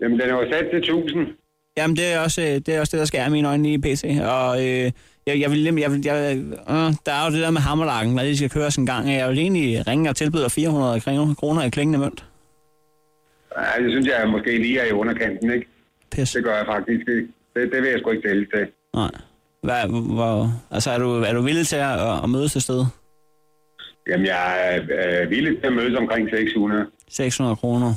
Speaker 7: Jamen, den er jo sat til 1000.
Speaker 4: Jamen, det er også øh, det, er også det der skærer mine øjne lige i PC. Og øh, jeg, jeg vil, lige- jeg vil, jeg, øh, der er jo det der med hammerlakken, hvad det skal køres en gang. Jeg vil egentlig ringe og tilbyde 400 kroner- kroner i klingende mønt.
Speaker 7: Nej, det synes jeg måske lige er i underkanten, ikke?
Speaker 4: Pis.
Speaker 7: Det gør jeg faktisk ikke. Det, det vil jeg sgu ikke tælle til.
Speaker 4: Nej. Hvad, hvor, altså, er du, er du villig til at, at, at mødes et sted?
Speaker 7: Jamen, jeg er øh, villig til at mødes omkring 600.
Speaker 4: 600 kroner.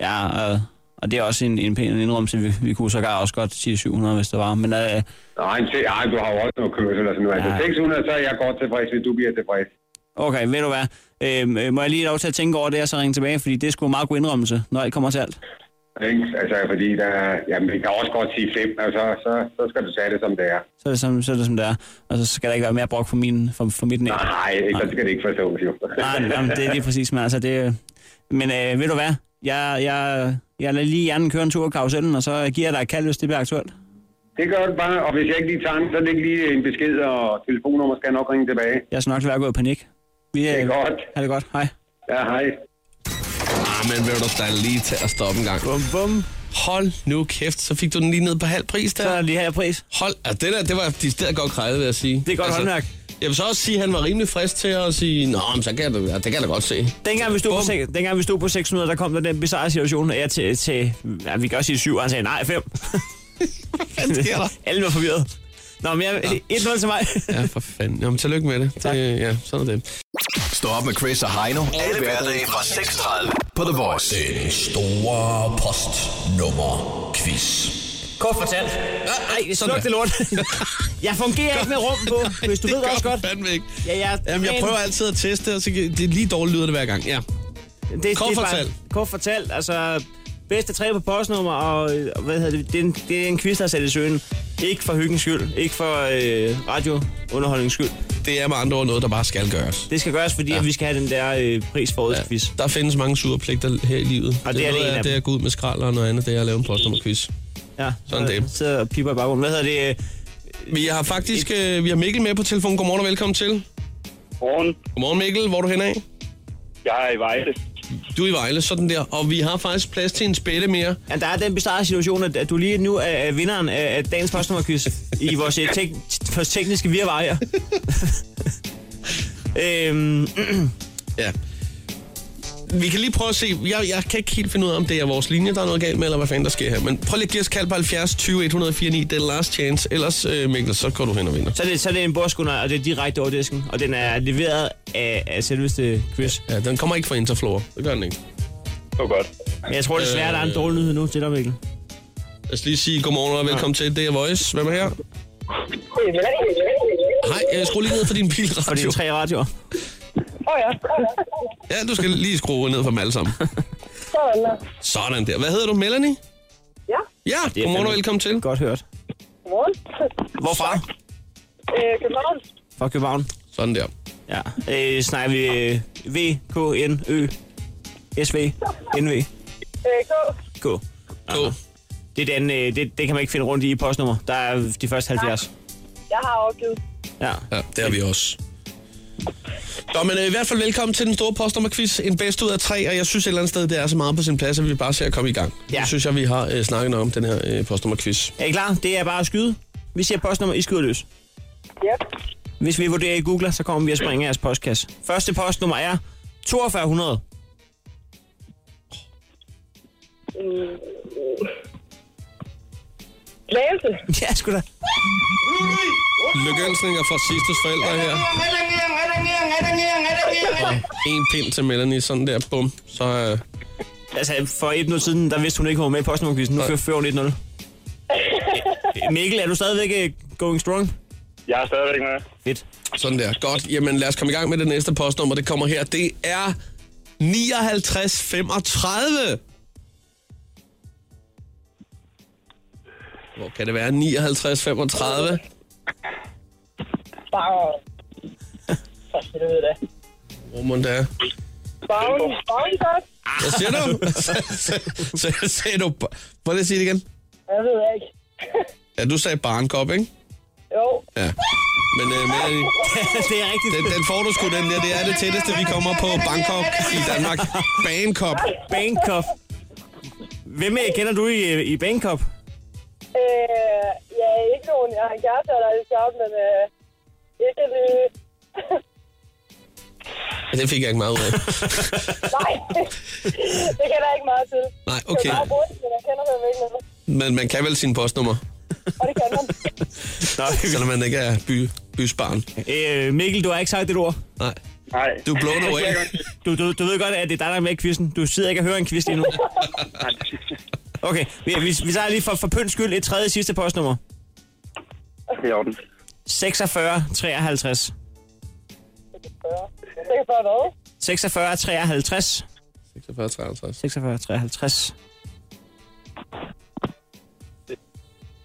Speaker 4: Ja, og, og det er også en, en pæn indrømmelse. Vi, vi kunne sågar også godt sige 700, hvis det var. Men øh,
Speaker 7: Nej, en se- ej, du har jo også noget kørsel og sådan noget. Ja.
Speaker 4: Ja.
Speaker 7: Altså 600, så er jeg godt tilfreds, hvis du bliver tilfreds.
Speaker 4: okay, ved du hvad? Øh, øh, må jeg lige have lov til at tænke over det, og så ringe tilbage? Fordi det er sgu en meget god indrømmelse, når alt kommer til alt.
Speaker 7: Ikke? Altså, fordi der, jamen, vi kan også godt sige 5, og så, så, så skal du tage det, som det er.
Speaker 4: Så er det, som, så er det, som det er. Og så skal der ikke være mere brok for, min, for, for mit net.
Speaker 7: Nej, ikke, så skal det ikke forstås, jo.
Speaker 4: Nej, nej, men det er lige præcis, men altså det... Men øh, ved du hvad? Jeg, jeg, jeg lader lige hjernen køre en tur i karusellen, og så giver jeg dig et kald, hvis det bliver aktuelt.
Speaker 7: (laughs) Det gør du bare, og hvis jeg ikke lige tager den, så læg lige en besked, og telefonnummer skal jeg nok ringe tilbage.
Speaker 4: Jeg skal nok lade være gået i panik. Vi, øh,
Speaker 7: Det er godt.
Speaker 4: Ha' det godt. Hej.
Speaker 7: Ja, hej.
Speaker 3: Ah, men vil du da lige til at stoppe en gang.
Speaker 4: Bum, bum.
Speaker 3: Hold nu kæft, så fik du den lige ned på halv pris
Speaker 4: Så er
Speaker 3: der.
Speaker 4: det lige her pris.
Speaker 3: Hold, altså det der, det var de stedet godt krejlet, vil jeg sige. Altså,
Speaker 4: Det er godt håndværk.
Speaker 3: Jeg vil så også sige, at han var rimelig frisk til at sige, Nå, men så kan jeg, da- ja, det kan jeg da godt se.
Speaker 4: Dengang vi, stod på,
Speaker 3: Bum.
Speaker 4: sek- dengang vi stod på 600, der kom der den bizarre situation, at jeg til, til ja, vi kan også sige 7, og han sagde nej, 5.
Speaker 3: sker der?
Speaker 4: Alle var forvirret. Nå, men jeg,
Speaker 3: (laughs)
Speaker 4: 1-0 til mig.
Speaker 3: Ja, for fanden. Jamen, tillykke med det.
Speaker 4: Tak.
Speaker 3: det ja, sådan er det.
Speaker 5: Stå op med Chris og Heino. Alle hverdage fra 6.30 på The Voice. Den store postnummer quiz.
Speaker 4: Kort fortalt.
Speaker 3: sådan
Speaker 4: Nej, sluk det lort. (laughs) jeg fungerer ikke med rum på, hvis du ved også godt.
Speaker 3: Fandme ikke.
Speaker 4: Ja, jeg,
Speaker 3: Jamen, jeg prøver altid at teste, og så kan- det er lige dårligt lyder det hver gang. Ja.
Speaker 4: Det,
Speaker 3: Kort
Speaker 4: det er bare-
Speaker 3: fortalt.
Speaker 4: Kort fortalt, altså bedste tre på postnummer, og, øh, og hvad hedder det, det er, en, det er en quiz, der er sat i søen. Ikke for hyggens skyld, ikke for øh, radiounderholdningens skyld.
Speaker 3: Det er med andre ord noget, der bare skal gøres.
Speaker 4: Det skal gøres, fordi
Speaker 3: Ja.
Speaker 4: ja. vi skal have den der øh, pris for årets ja. quiz.
Speaker 3: Der findes mange sure pligter her i livet.
Speaker 4: Og det er det
Speaker 3: noget
Speaker 4: en af
Speaker 3: det er
Speaker 4: dem.
Speaker 3: at gå ud med skrald, og noget andet det er at lave en postnummerquiz.
Speaker 4: Ja,
Speaker 3: Sådan
Speaker 4: så-
Speaker 3: det.
Speaker 4: Så piper i baggrunden. Hvad hedder det? øh,
Speaker 3: Vi har faktisk øh, vi har Mikkel med på telefonen. Godmorgen og velkommen til.
Speaker 6: Morgen.
Speaker 3: Godmorgen Mikkel, hvor er du hen af?
Speaker 6: Jeg er i Vejle.
Speaker 3: Du er i Vejle, sådan der. Og vi har faktisk plads til en spætte mere.
Speaker 4: Ja, der er den bizarre situation, at, at du lige nu er, er vinderen af, af dagens postnummerquiz i vores, øh, tek, vores tekniske virvar her. (laughs) øhm,
Speaker 3: Ja. Vi kan lige prøve at se. Jeg, jeg kan ikke helt finde ud af, om det er vores linje, der er noget galt med, eller hvad fanden der sker her. Men prøv lige at give os kald på 70 20 149. Det er last chance. Ellers, øh, Mikkel, så går du hen og vinder.
Speaker 4: Så er det, så er det en bordskunder, og det er direkte over disken, og den er leveret af, af selveste Chris.
Speaker 3: Ja, den kommer ikke fra Interflora. Det gør den ikke.
Speaker 6: Det var godt.
Speaker 4: Men jeg tror desværre, der er en dårlig nyhed nu til dig, Mikkel.
Speaker 3: Lad os lige sige godmorgen og velkommen til. Det er Voice. Hvem er her? Hej, øh, skru lige ned for din
Speaker 4: For
Speaker 3: bilradio.
Speaker 4: dine tre radioer.
Speaker 3: Ja, du skal lige skrue ned for dem alle
Speaker 4: (laughs)
Speaker 3: sammen. Sådan der. Hvad hedder du? Melanie?
Speaker 8: Ja.
Speaker 3: Ja,
Speaker 4: er
Speaker 3: godmorgen og
Speaker 4: fandme-
Speaker 3: velkommen til.
Speaker 4: Godt hørt.
Speaker 8: Godmorgen.
Speaker 4: Hvorfra?
Speaker 8: Øh, København.
Speaker 4: Fra København.
Speaker 3: Sådan der.
Speaker 4: Ja. Øh, snakker vi øh, V, K, N, Ø, S, V, N, V,
Speaker 8: Øh, K.
Speaker 4: K.
Speaker 3: Gå.
Speaker 4: Det, er den, øh, det, det kan man ikke finde rundt i i postnummer. Der er de første 70.
Speaker 8: Jeg har opgivet.
Speaker 4: Ja.
Speaker 3: Ja, det har vi også. Nå, men øh, i hvert fald velkommen til den store postnummerquiz. En bedst ud af tre, og jeg synes et eller andet sted, det er så meget på sin plads, at vi bare ser at komme i gang.
Speaker 4: Ja.
Speaker 3: Det synes jeg, vi har øh, snakket nok om den her øh, postnummerquiz.
Speaker 4: Er I klar? Det er bare at skyde. Vi siger postnummer, I skyder løs.
Speaker 8: Ja.
Speaker 4: Hvis vi vurderer, I googler, så kommer vi at springe af jeres postkasse. Første postnummer er 4200.
Speaker 8: Slagelse.
Speaker 4: (laughs) Ja, sgu da.
Speaker 3: Lykønsninger fra Sisters forældre her. Og en pind til Melanie, sådan der, bum. Så øh,
Speaker 4: Altså, for et minut siden, der vidste hun ikke, hun var med i postnummerkvisten. Nu fører- fører hun 1-0. Øh, Mikkel, er du stadigvæk øh, going strong?
Speaker 6: Jeg er stadigvæk med.
Speaker 4: Fedt.
Speaker 3: sådan der. Godt, jamen lad os komme i gang med det næste postnummer. Det kommer her. Det er 5935. Hvor kan det være? 5935?
Speaker 8: Bare... For helvede da.
Speaker 3: Hvor må det er?
Speaker 8: Bagn. Bagn,
Speaker 3: Hvad siger du? så, så sagde du... ba- Prøv lige at sige det igen.
Speaker 8: Jeg ved jeg ikke.
Speaker 3: Ja, du sagde barnkop, ikke?
Speaker 8: Jo.
Speaker 3: Ja. Men øh, Melanie,
Speaker 4: det er rigtigt.
Speaker 3: den, den får du sgu, den der. Det er det tætteste, vi kommer på Bangkok i Danmark. Bangkok.
Speaker 4: Bangkok. Hvem øh, kender du i, øh, i Bangkok?
Speaker 8: Øh, jeg er ikke nogen. Jeg har en kæreste, der er lidt sjovt, men øh, ikke lige...
Speaker 3: Ja, det fik jeg ikke meget ud af.
Speaker 8: Nej, (laughs) det kender jeg ikke meget til.
Speaker 3: Nej,
Speaker 8: Jeg
Speaker 3: okay.
Speaker 8: er bare brugt, men jeg kender dem ikke noget.
Speaker 3: Men man kan vel sin postnummer.
Speaker 8: Og det kan kan man.
Speaker 4: Nå,
Speaker 3: (laughs) Selvom man ikke er by, bysbarn.
Speaker 4: øh, Mikkel, du har ikke sagt et ord.
Speaker 3: Nej.
Speaker 6: Nej.
Speaker 3: Du er blown away. (laughs)
Speaker 4: Du, du, du ved godt, at det er dig, der er med i quizzen. Du sidder ikke og hører en quiz
Speaker 6: (laughs)
Speaker 4: lige nu. Okay, vi, vi, vi tager lige for, for pøns skyld et tredje sidste postnummer.
Speaker 6: Det er i orden.
Speaker 4: 46 53.
Speaker 8: 46 hvad?
Speaker 4: 46 53.
Speaker 3: 46, 53.
Speaker 4: 46 53.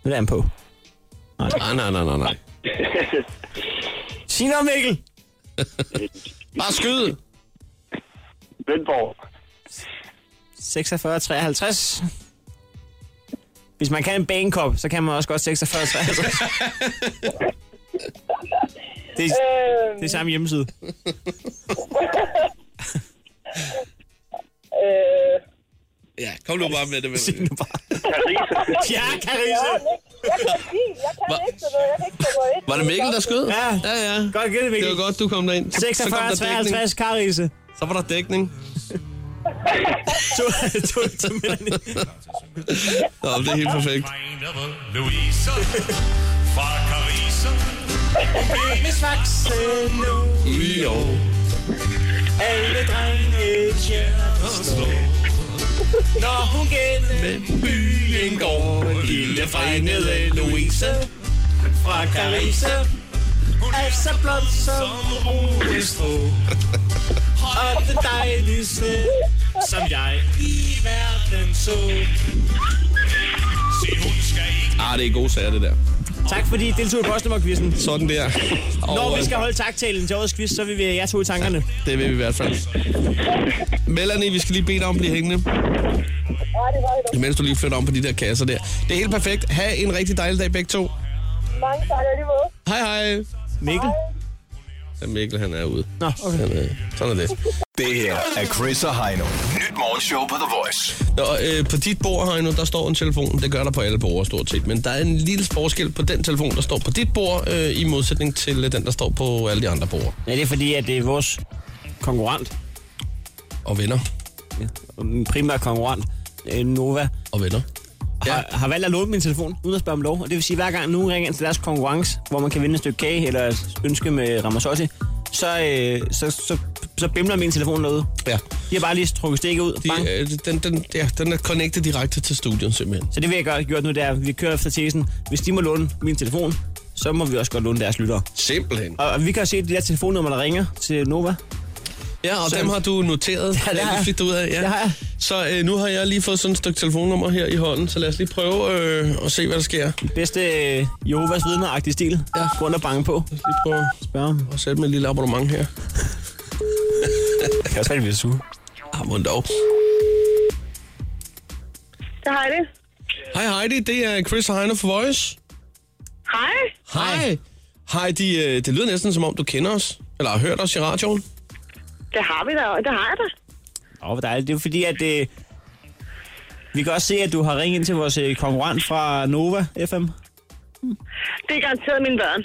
Speaker 4: Nu er han på.
Speaker 3: Nej, nej, nej, nej, nej.
Speaker 4: Sig noget, Mikkel!
Speaker 3: Bare skyd!
Speaker 6: Vindborg.
Speaker 4: 46 53. Hvis man kan en banekop, så kan man også
Speaker 3: (laughs)
Speaker 4: godt 46 53. Det er,
Speaker 8: Øh,
Speaker 4: det er samme hjemmeside.
Speaker 8: øh,
Speaker 3: Ja, kom nu bare med det.
Speaker 4: Sig
Speaker 3: Med.
Speaker 4: nu bare. (laughs) Ja, Karise!
Speaker 8: jeg kan ikke, jeg kan ikke, jeg kan ikke sådan noget, jeg kan ikke sådan noget.
Speaker 3: Var det Mikkel, der skød?
Speaker 4: Ja.
Speaker 3: ja. ja.
Speaker 4: Godt gættet,
Speaker 3: Det
Speaker 4: Mikkel.
Speaker 3: var godt, du kom derind. Så- så kom
Speaker 4: 46
Speaker 3: der dækning.
Speaker 4: 53, Karise.
Speaker 3: Så var der dækning.
Speaker 4: To, to, to, to,
Speaker 3: Nå, det er helt perfekt.
Speaker 9: Louise fra Carissa.
Speaker 3: Jo.
Speaker 4: Alle drenge Når hun gennem
Speaker 3: Byen går,
Speaker 4: lille fregnede Louise fra Carisse Er så blond som rolestrå Og det dejligste, som jeg i verden så
Speaker 9: Se, hun skal ikke
Speaker 3: Ah, det er gode sager, det der.
Speaker 4: Tak fordi I deltog i postnummerquizzen.
Speaker 3: Sådan der. Og,
Speaker 4: Når vi
Speaker 3: øh,
Speaker 4: skal holde taktalen til årets quiz, så vil vi have jer to i tankerne.
Speaker 3: Det vil vi i hvert fald. Melanie, vi skal lige bede dig om at blive hængende,
Speaker 8: Nej, det var det.
Speaker 3: imens du lige flytter om på de der kasser der. Det er helt perfekt. Ha' en rigtig dejlig dag begge to.
Speaker 8: Mange tak alligevel.
Speaker 3: Hej hej.
Speaker 4: Mikkel?
Speaker 3: Ja, Mikkel, han er ude.
Speaker 4: Nå, okay.
Speaker 3: Han, øh, sådan er det.
Speaker 5: Det her er Chris og Heino. Nyt morgenshow på The Voice.
Speaker 3: Nå, øh, på dit bord, Heino, der står en telefon. Det gør der på alle borgere stort set. Men der er en lille forskel på den telefon, der står på dit bord, øh, i modsætning til øh, den, der står på alle de andre borgere
Speaker 4: Ja, det er fordi, at det er vores konkurrent,
Speaker 3: og venner.
Speaker 4: min primære konkurrent, øh, Nova,
Speaker 3: Og venner.
Speaker 4: ja. har, har valgt at låne min telefon, uden at spørge om lov. Og det vil sige, at hver gang nogen ringer ind til deres konkurrence, hvor man kan vinde et stykke kage eller et ønske med Ramazotti, så, øh, så, så, så bimler min telefon derude.
Speaker 3: Ja.
Speaker 4: De har bare lige trukket stikket ud. Bang.
Speaker 3: De, øh, den, den, ja, den er connectet direkte til studiet, simpelthen.
Speaker 4: Så det vil jeg godt have gjort nu, det er, at vi kører efter tesen. Hvis de må låne min telefon, så må vi også godt låne deres lyttere.
Speaker 3: Simpelthen.
Speaker 4: Og, og vi kan jo se at de der telefonnumre, der ringer til Nova.
Speaker 3: Ja, og
Speaker 4: Så-
Speaker 3: dem har du noteret.
Speaker 4: det har jeg.
Speaker 3: fik du ud af. Ja.
Speaker 4: Det har jeg.
Speaker 3: Så øh, nu har jeg lige fået sådan et stykke telefonnummer her i hånden, så lad os lige prøve øh, at se, hvad der sker.
Speaker 4: Bedste øh, Jehovas vidner stil. Ja. Rundt og bange på.
Speaker 3: Lige prøve
Speaker 4: Spørg om.
Speaker 3: at sætte mig et lille abonnement her.
Speaker 4: Jeg kan også være, at suge.
Speaker 3: Ah, mon dog.
Speaker 8: Så hej det.
Speaker 3: Hej Heidi, det er Chris og Heino for Voice.
Speaker 8: Hej.
Speaker 3: Hej. Heidi, øh, det lyder næsten som om, du kender os, eller har hørt os i radioen.
Speaker 8: Det har vi da, det har jeg da.
Speaker 4: Åh, hvor dejligt. Det er jo fordi, at øh, vi kan også se, at du har ringet ind til vores øh, konkurrent fra Nova FM.
Speaker 8: Det er garanteret mine børn.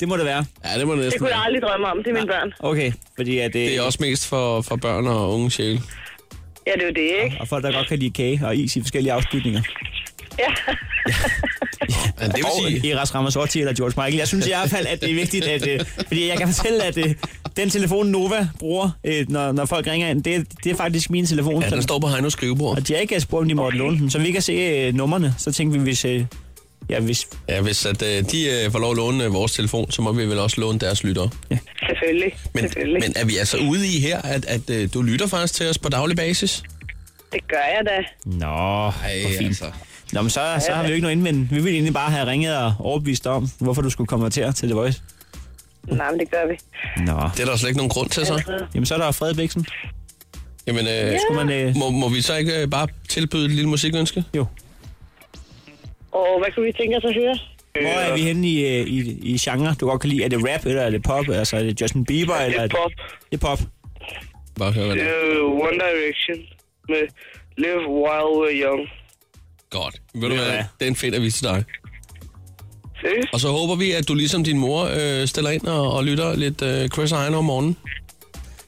Speaker 4: Det må det være.
Speaker 3: Ja, det må det
Speaker 8: Det
Speaker 3: næsten
Speaker 8: kunne jeg
Speaker 3: være.
Speaker 8: aldrig drømme om, det er mine børn.
Speaker 4: Okay, fordi at, øh,
Speaker 3: Det er også mest for, for børn og unge sjæle.
Speaker 8: Ja, det er jo det, ikke?
Speaker 4: og folk, der godt kan lide kage og is i forskellige afslutninger.
Speaker 8: Ja.
Speaker 3: Men det vil sige,
Speaker 4: Eras Ramazzotti eller George Michael. Jeg synes i hvert fald, at det er vigtigt, at, øh, fordi jeg kan fortælle, at øh, den telefon Nova bruger, øh, når, når folk ringer ind, det, er- det er faktisk min telefon.
Speaker 3: ja, den
Speaker 4: som-
Speaker 3: står på Heinos skrivebord.
Speaker 4: og de har ikke spurgt, om de måtte låne den. Så vi kan se øh, nummerne, så tænkte vi, hvis, øh, ja, hvis
Speaker 3: Ja, hvis at, øh, de øh, får lov at låne øh, vores telefon, så må vi vel også låne deres lyttere.
Speaker 8: Selvfølgelig.
Speaker 3: Men,
Speaker 8: Selvfølgelig.
Speaker 3: men er vi altså ude i her, at, at øh, du lytter faktisk til os på daglig basis?
Speaker 8: Det gør jeg da.
Speaker 4: Nå, Ej, hvor fint.
Speaker 3: altså.
Speaker 4: Nå, men så, så har vi jo ikke noget indvendt. Vi ville egentlig bare have ringet og overbevist dig om, hvorfor du skulle komme her til The Voice.
Speaker 8: Nej, men det gør vi.
Speaker 4: Nå.
Speaker 3: Det er der slet ikke nogen grund til, så.
Speaker 4: Jamen, så er der Fred Bæksen.
Speaker 3: Jamen, øh,
Speaker 4: Skulle man... Øh,
Speaker 3: må, må vi så ikke øh, bare tilbyde et lille musikønske?
Speaker 4: jo.
Speaker 8: Og hvad kunne vi tænke os at høre?
Speaker 4: Hvor er vi henne i, øh, i, i genre, du godt kan lide? Er det rap, eller er det pop? Altså, er det Justin Bieber, eller... er
Speaker 6: Det er pop.
Speaker 4: Det er pop.
Speaker 3: Bare høre, hvad det
Speaker 6: Det
Speaker 3: er.
Speaker 6: er jo Øh, One Direction med Live While We're Young.
Speaker 3: Godt. Ved du
Speaker 4: Ja.
Speaker 3: hvad, det er en fedt avis til dig.
Speaker 6: Seriøst?
Speaker 3: Og så håber vi, at du ligesom din mor øh, stiller ind og, og lytter lidt øh, Chris og Heino om morgenen.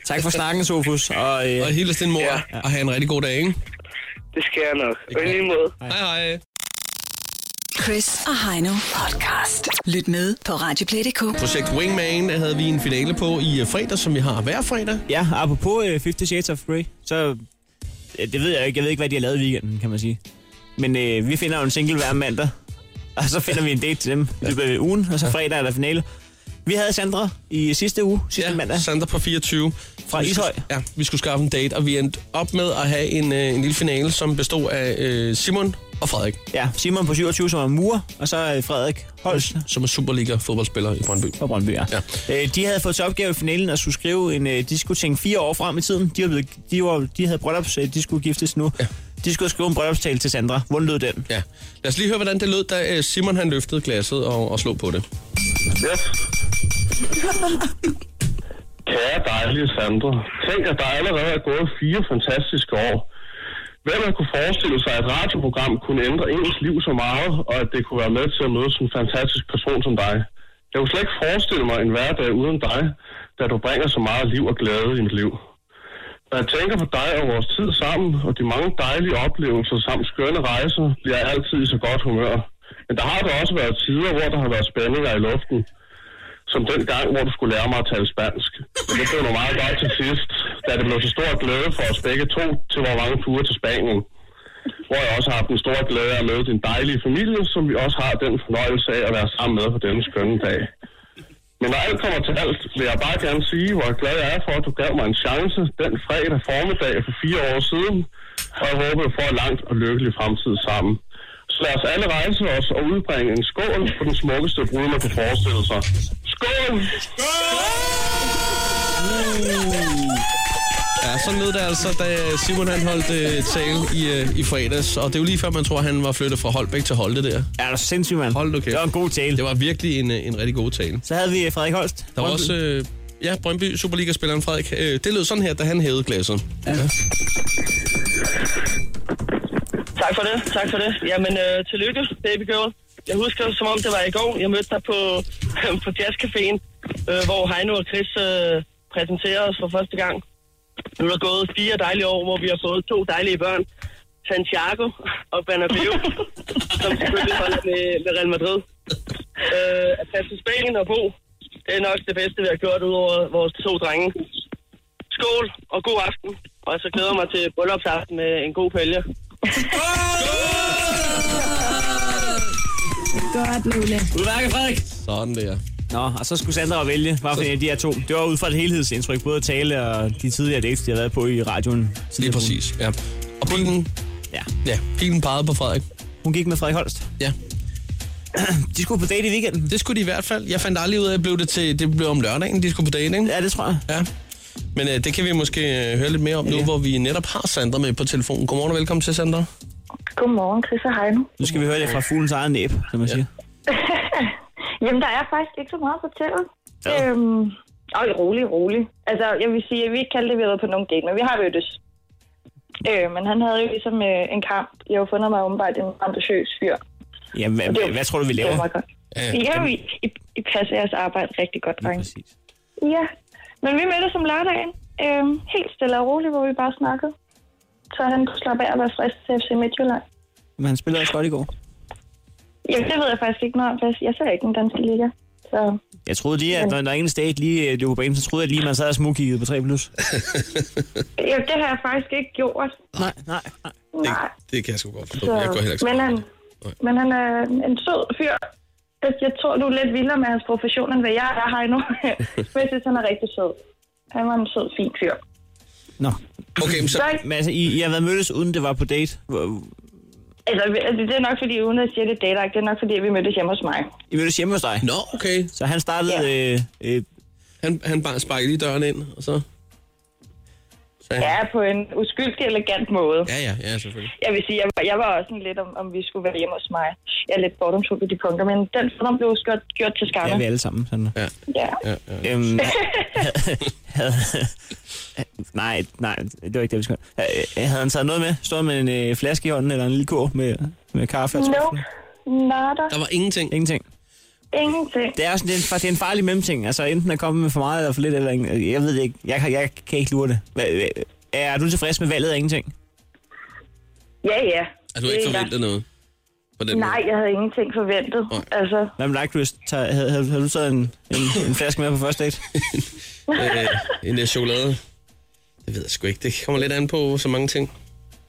Speaker 4: Tak for snakken, Sofus. Og, øh,
Speaker 3: Og hils din mor,
Speaker 6: Ja.
Speaker 3: ja. og have en rigtig god dag, ikke?
Speaker 6: Det skal jeg nok. På en måde.
Speaker 3: Hej hej.
Speaker 2: Chris og Heino podcast. Lyt med på Radioplay.dk.
Speaker 10: Projekt Wingman havde vi en finale på i øh, fredag, som vi har hver fredag.
Speaker 4: Ja, apropos uh, 50 Shades of Grey, så... Ja, det ved jeg jo ikke. Jeg ved ikke, hvad de har lavet i weekenden, kan man sige. Men øh, vi finder jo en single hver mandag, og så finder vi en date til dem i løbet af ugen, og så fredag er der finale. Vi havde Sandra i sidste uge, sidste ja, mandag.
Speaker 10: Sandra på 24.
Speaker 4: Fra
Speaker 10: Vi skulle-
Speaker 4: Ishøj.
Speaker 10: Ja, vi skulle skaffe en date, og vi endte op med at have en, øh, en lille finale, som bestod af øh, Simon og Frederik,
Speaker 4: Ja, Simon på 27, som er murer, og så øh, Frederik Holst
Speaker 10: som er Superliga-fodboldspiller i Brøndby.
Speaker 4: fra Brøndby. Ja. Øh, de havde fået til opgave i finalen at skulle skrive en øh, diskotænk fire år frem i tiden. De, var blevet, de, var, de havde bryllups, øh, de skulle giftes nu. Ja. De skulle skrive en bryllupstale til Sandra. Hvordan lød den?
Speaker 10: Ja. Lad os lige høre, hvordan det lød, da øh, Simon han løftede glasset og, og slog på det.
Speaker 3: Yes. Kære dejlige Sandra, tænk at der allerede er gået fire fantastiske år. Hvem man kunne forestille sig, at et radioprogram kunne ændre ens liv så meget, og at det kunne være med til at møde sådan en fantastisk person som dig. Jeg kunne slet ikke forestille mig en hverdag uden dig, da du bringer så meget liv og glæde i mit liv. Når jeg tænker på dig og vores tid sammen, og de mange dejlige oplevelser samt skønne rejser, bliver jeg altid i så godt humør. Men der har da også været tider, hvor der har været spændinger i luften som den gang, hvor du skulle lære mig at tale spansk. Men det blev nu meget godt til sidst, da det blev til stor glæde for os begge to til vores mange ture til Spanien. Hvor jeg også har haft en stor glæde af at møde din dejlige familie, som vi også har den fornøjelse af at være sammen med på denne skønne dag. Men når alt kommer til alt, vil jeg bare gerne sige, hvor glad jeg er for, at du gav mig en chance den fredag formiddag for fire år siden, og jeg håber, vi får en langt og lykkelig fremtid sammen. Så lad os alle rejse os og udbringe en skål på den smukkeste brud, man kan forestille sig. Skål!
Speaker 10: Ja, sådan lød det altså, da Simon han holdt øh, tale i, øh, i fredags. Og det er jo lige før, man tror, han var flyttet fra Holbæk til Holte der.
Speaker 4: Er du sindssyg, mand?
Speaker 10: Hold nu kæft.
Speaker 4: Det var en god tale.
Speaker 10: Det var virkelig en, øh, en rigtig god tale.
Speaker 4: Så havde vi øh, Frederik Holst.
Speaker 10: Der var
Speaker 4: Brøndby.
Speaker 10: også... Øh, ja, Brøndby Superliga-spilleren Frederik. Øh, det lød sådan her, da han hævede glasset.
Speaker 8: Tak for det, tak for det. Jamen, øh, tillykke, baby girl. Jeg husker, som om det var i går, jeg mødte dig på, på jazzcaféen, øh, hvor Heino og Chris øh, præsenterede os for første gang. Nu er der gået fire dejlige år, hvor vi har fået to dejlige børn. Santiago og Bernabeu, som selvfølgelig holder med, med Real Madrid. Øh, at passe til Spanien og bo, det er nok det bedste, vi har gjort ud over vores to drenge. Skål og god aften. Og så glæder jeg mig til bryllupsaften med en god pælge.
Speaker 11: Godt, Lule.
Speaker 4: Udmærket, Frederik!
Speaker 10: Sådan der.
Speaker 4: Nå, og så skulle Sandra vælge, hvad for en af de her to. Det var ud fra et helhedsindtryk, både at tale og de tidligere dates, de har været på i radioen.
Speaker 10: Lige præcis, ja. Og pilen,
Speaker 4: Ja.
Speaker 10: ja, pilen pegede på Frederik.
Speaker 4: Hun gik med Frederik Holst.
Speaker 10: Ja.
Speaker 4: De skulle på date i weekenden.
Speaker 10: Det skulle de i hvert fald. Jeg fandt aldrig ud af, at blev det, til, det blev om lørdagen, de skulle på date, ikke?
Speaker 4: Ja, det tror jeg.
Speaker 10: Ja. Men øh, det kan vi måske øh, høre lidt mere om nu, hvor vi netop har Sandra med på telefonen. Godmorgen og velkommen til, Sandra.
Speaker 11: Godmorgen, Chris og Heino.
Speaker 4: Nu skal vi høre det fra fuglens egen næb, som man siger.
Speaker 11: Jamen, der er faktisk ikke så meget at fortælle. Ja. Øhm, og rolig, rolig. Altså, jeg vil sige, at vi ikke kaldte det, vi har været på nogen date, men vi har mødtes. Øh, men han havde jo ligesom øh, en kamp. Jeg har jo fundet mig åbenbart en ambitiøs fyr.
Speaker 4: Ja, hvad, hvad, hvad tror du, vi
Speaker 11: Det
Speaker 4: laver?
Speaker 11: var meget godt.
Speaker 10: Ja,
Speaker 11: Ja, vi, I, I passer jeres arbejde rigtig godt, drenge.
Speaker 4: Præcis.
Speaker 11: Ja, men vi mødtes om lørdagen. Øh, helt stille og roligt, hvor vi bare snakkede. Så han kunne slappe af og være frisk til FC Midtjylland.
Speaker 4: Men han spillede også godt i går.
Speaker 11: Jamen, det ved jeg faktisk ikke noget om, for jeg- jeg ser ikke den danske liga. Så
Speaker 4: Jeg troede lige, at når der ingen stat lige øh, løb på banen, så troede jeg lige, at man sad og smugkiggede på 3+. Plus.
Speaker 11: ja, det har jeg faktisk ikke gjort.
Speaker 4: nej, nej, nej.
Speaker 11: Nej.
Speaker 10: det kan jeg sgu godt forstå.
Speaker 11: Så,
Speaker 10: Jeg går heller ikke så
Speaker 11: men,
Speaker 10: meget
Speaker 11: han,
Speaker 10: op i det.
Speaker 11: men han er en sød fyr. Jeg- Jeg tror, du er lidt vildere med hans profession, end hvad jeg er her endnu. (laughs) men jeg synes, han er rigtig sød. Han var en sød, fin fyr.
Speaker 4: Nå.
Speaker 10: Okay, men så,
Speaker 11: Så,
Speaker 4: Men altså, I, I har været mødtes, uden det var på date. Hvor-
Speaker 11: altså, det er nok fordi, uden at sige det data, det er nok fordi, vi mødtes hjemme hos mig.
Speaker 4: I mødtes hjemme hos dig.
Speaker 10: Nå, okay.
Speaker 4: Så han startede... Øh, øh,
Speaker 10: Han, han bare sparkede lige døren ind, og så... så
Speaker 11: Ja, på en uskyldig, elegant måde.
Speaker 10: Ja, ja, ja, selvfølgelig.
Speaker 11: Jeg vil sige, jeg var, jeg var også sådan lidt, om, om vi skulle være hjemme hos mig. Jeg er lidt fordomsfuld på de punkter, men den fordom blev også gjort, gjort til
Speaker 4: ja,
Speaker 11: skamme.
Speaker 4: vi alle sammen. Sådan.
Speaker 10: Ja,
Speaker 11: Ja.
Speaker 10: ja, ja.
Speaker 4: Øhm, havde, nej, nej, det var ikke det, vi skulle have. Øh, Havde han taget noget med? Stod med en øh, flaske i hånden eller en lille kurv med, med kaffe? og
Speaker 11: No,
Speaker 4: trøffel?
Speaker 11: nada,
Speaker 10: Der var ingenting.
Speaker 4: Ingenting.
Speaker 11: ingenting.
Speaker 4: Det er, sådan, det, er en, fa- det er en farlig mellemting. Altså enten at komme med for meget eller for lidt. Eller ingen, øh, jeg ved det ikke. Jeg, kan- jeg kan ikke lure det. Hva, øh, hva- er du tilfreds med valget af ingenting?
Speaker 11: Ja, ja.
Speaker 10: Altså, du har ikke
Speaker 11: Det er
Speaker 10: forventet noget.
Speaker 3: På den
Speaker 11: Nej, jeg havde ingenting forventet. Altså,
Speaker 4: Hvad med dig, Chris? Tag, havde, havde, havde du taget en, en, en flaske med på første date?
Speaker 3: måde. Øh, en øh, chokolade. Det ved jeg sgu ikke. Det kommer lidt an på så mange ting.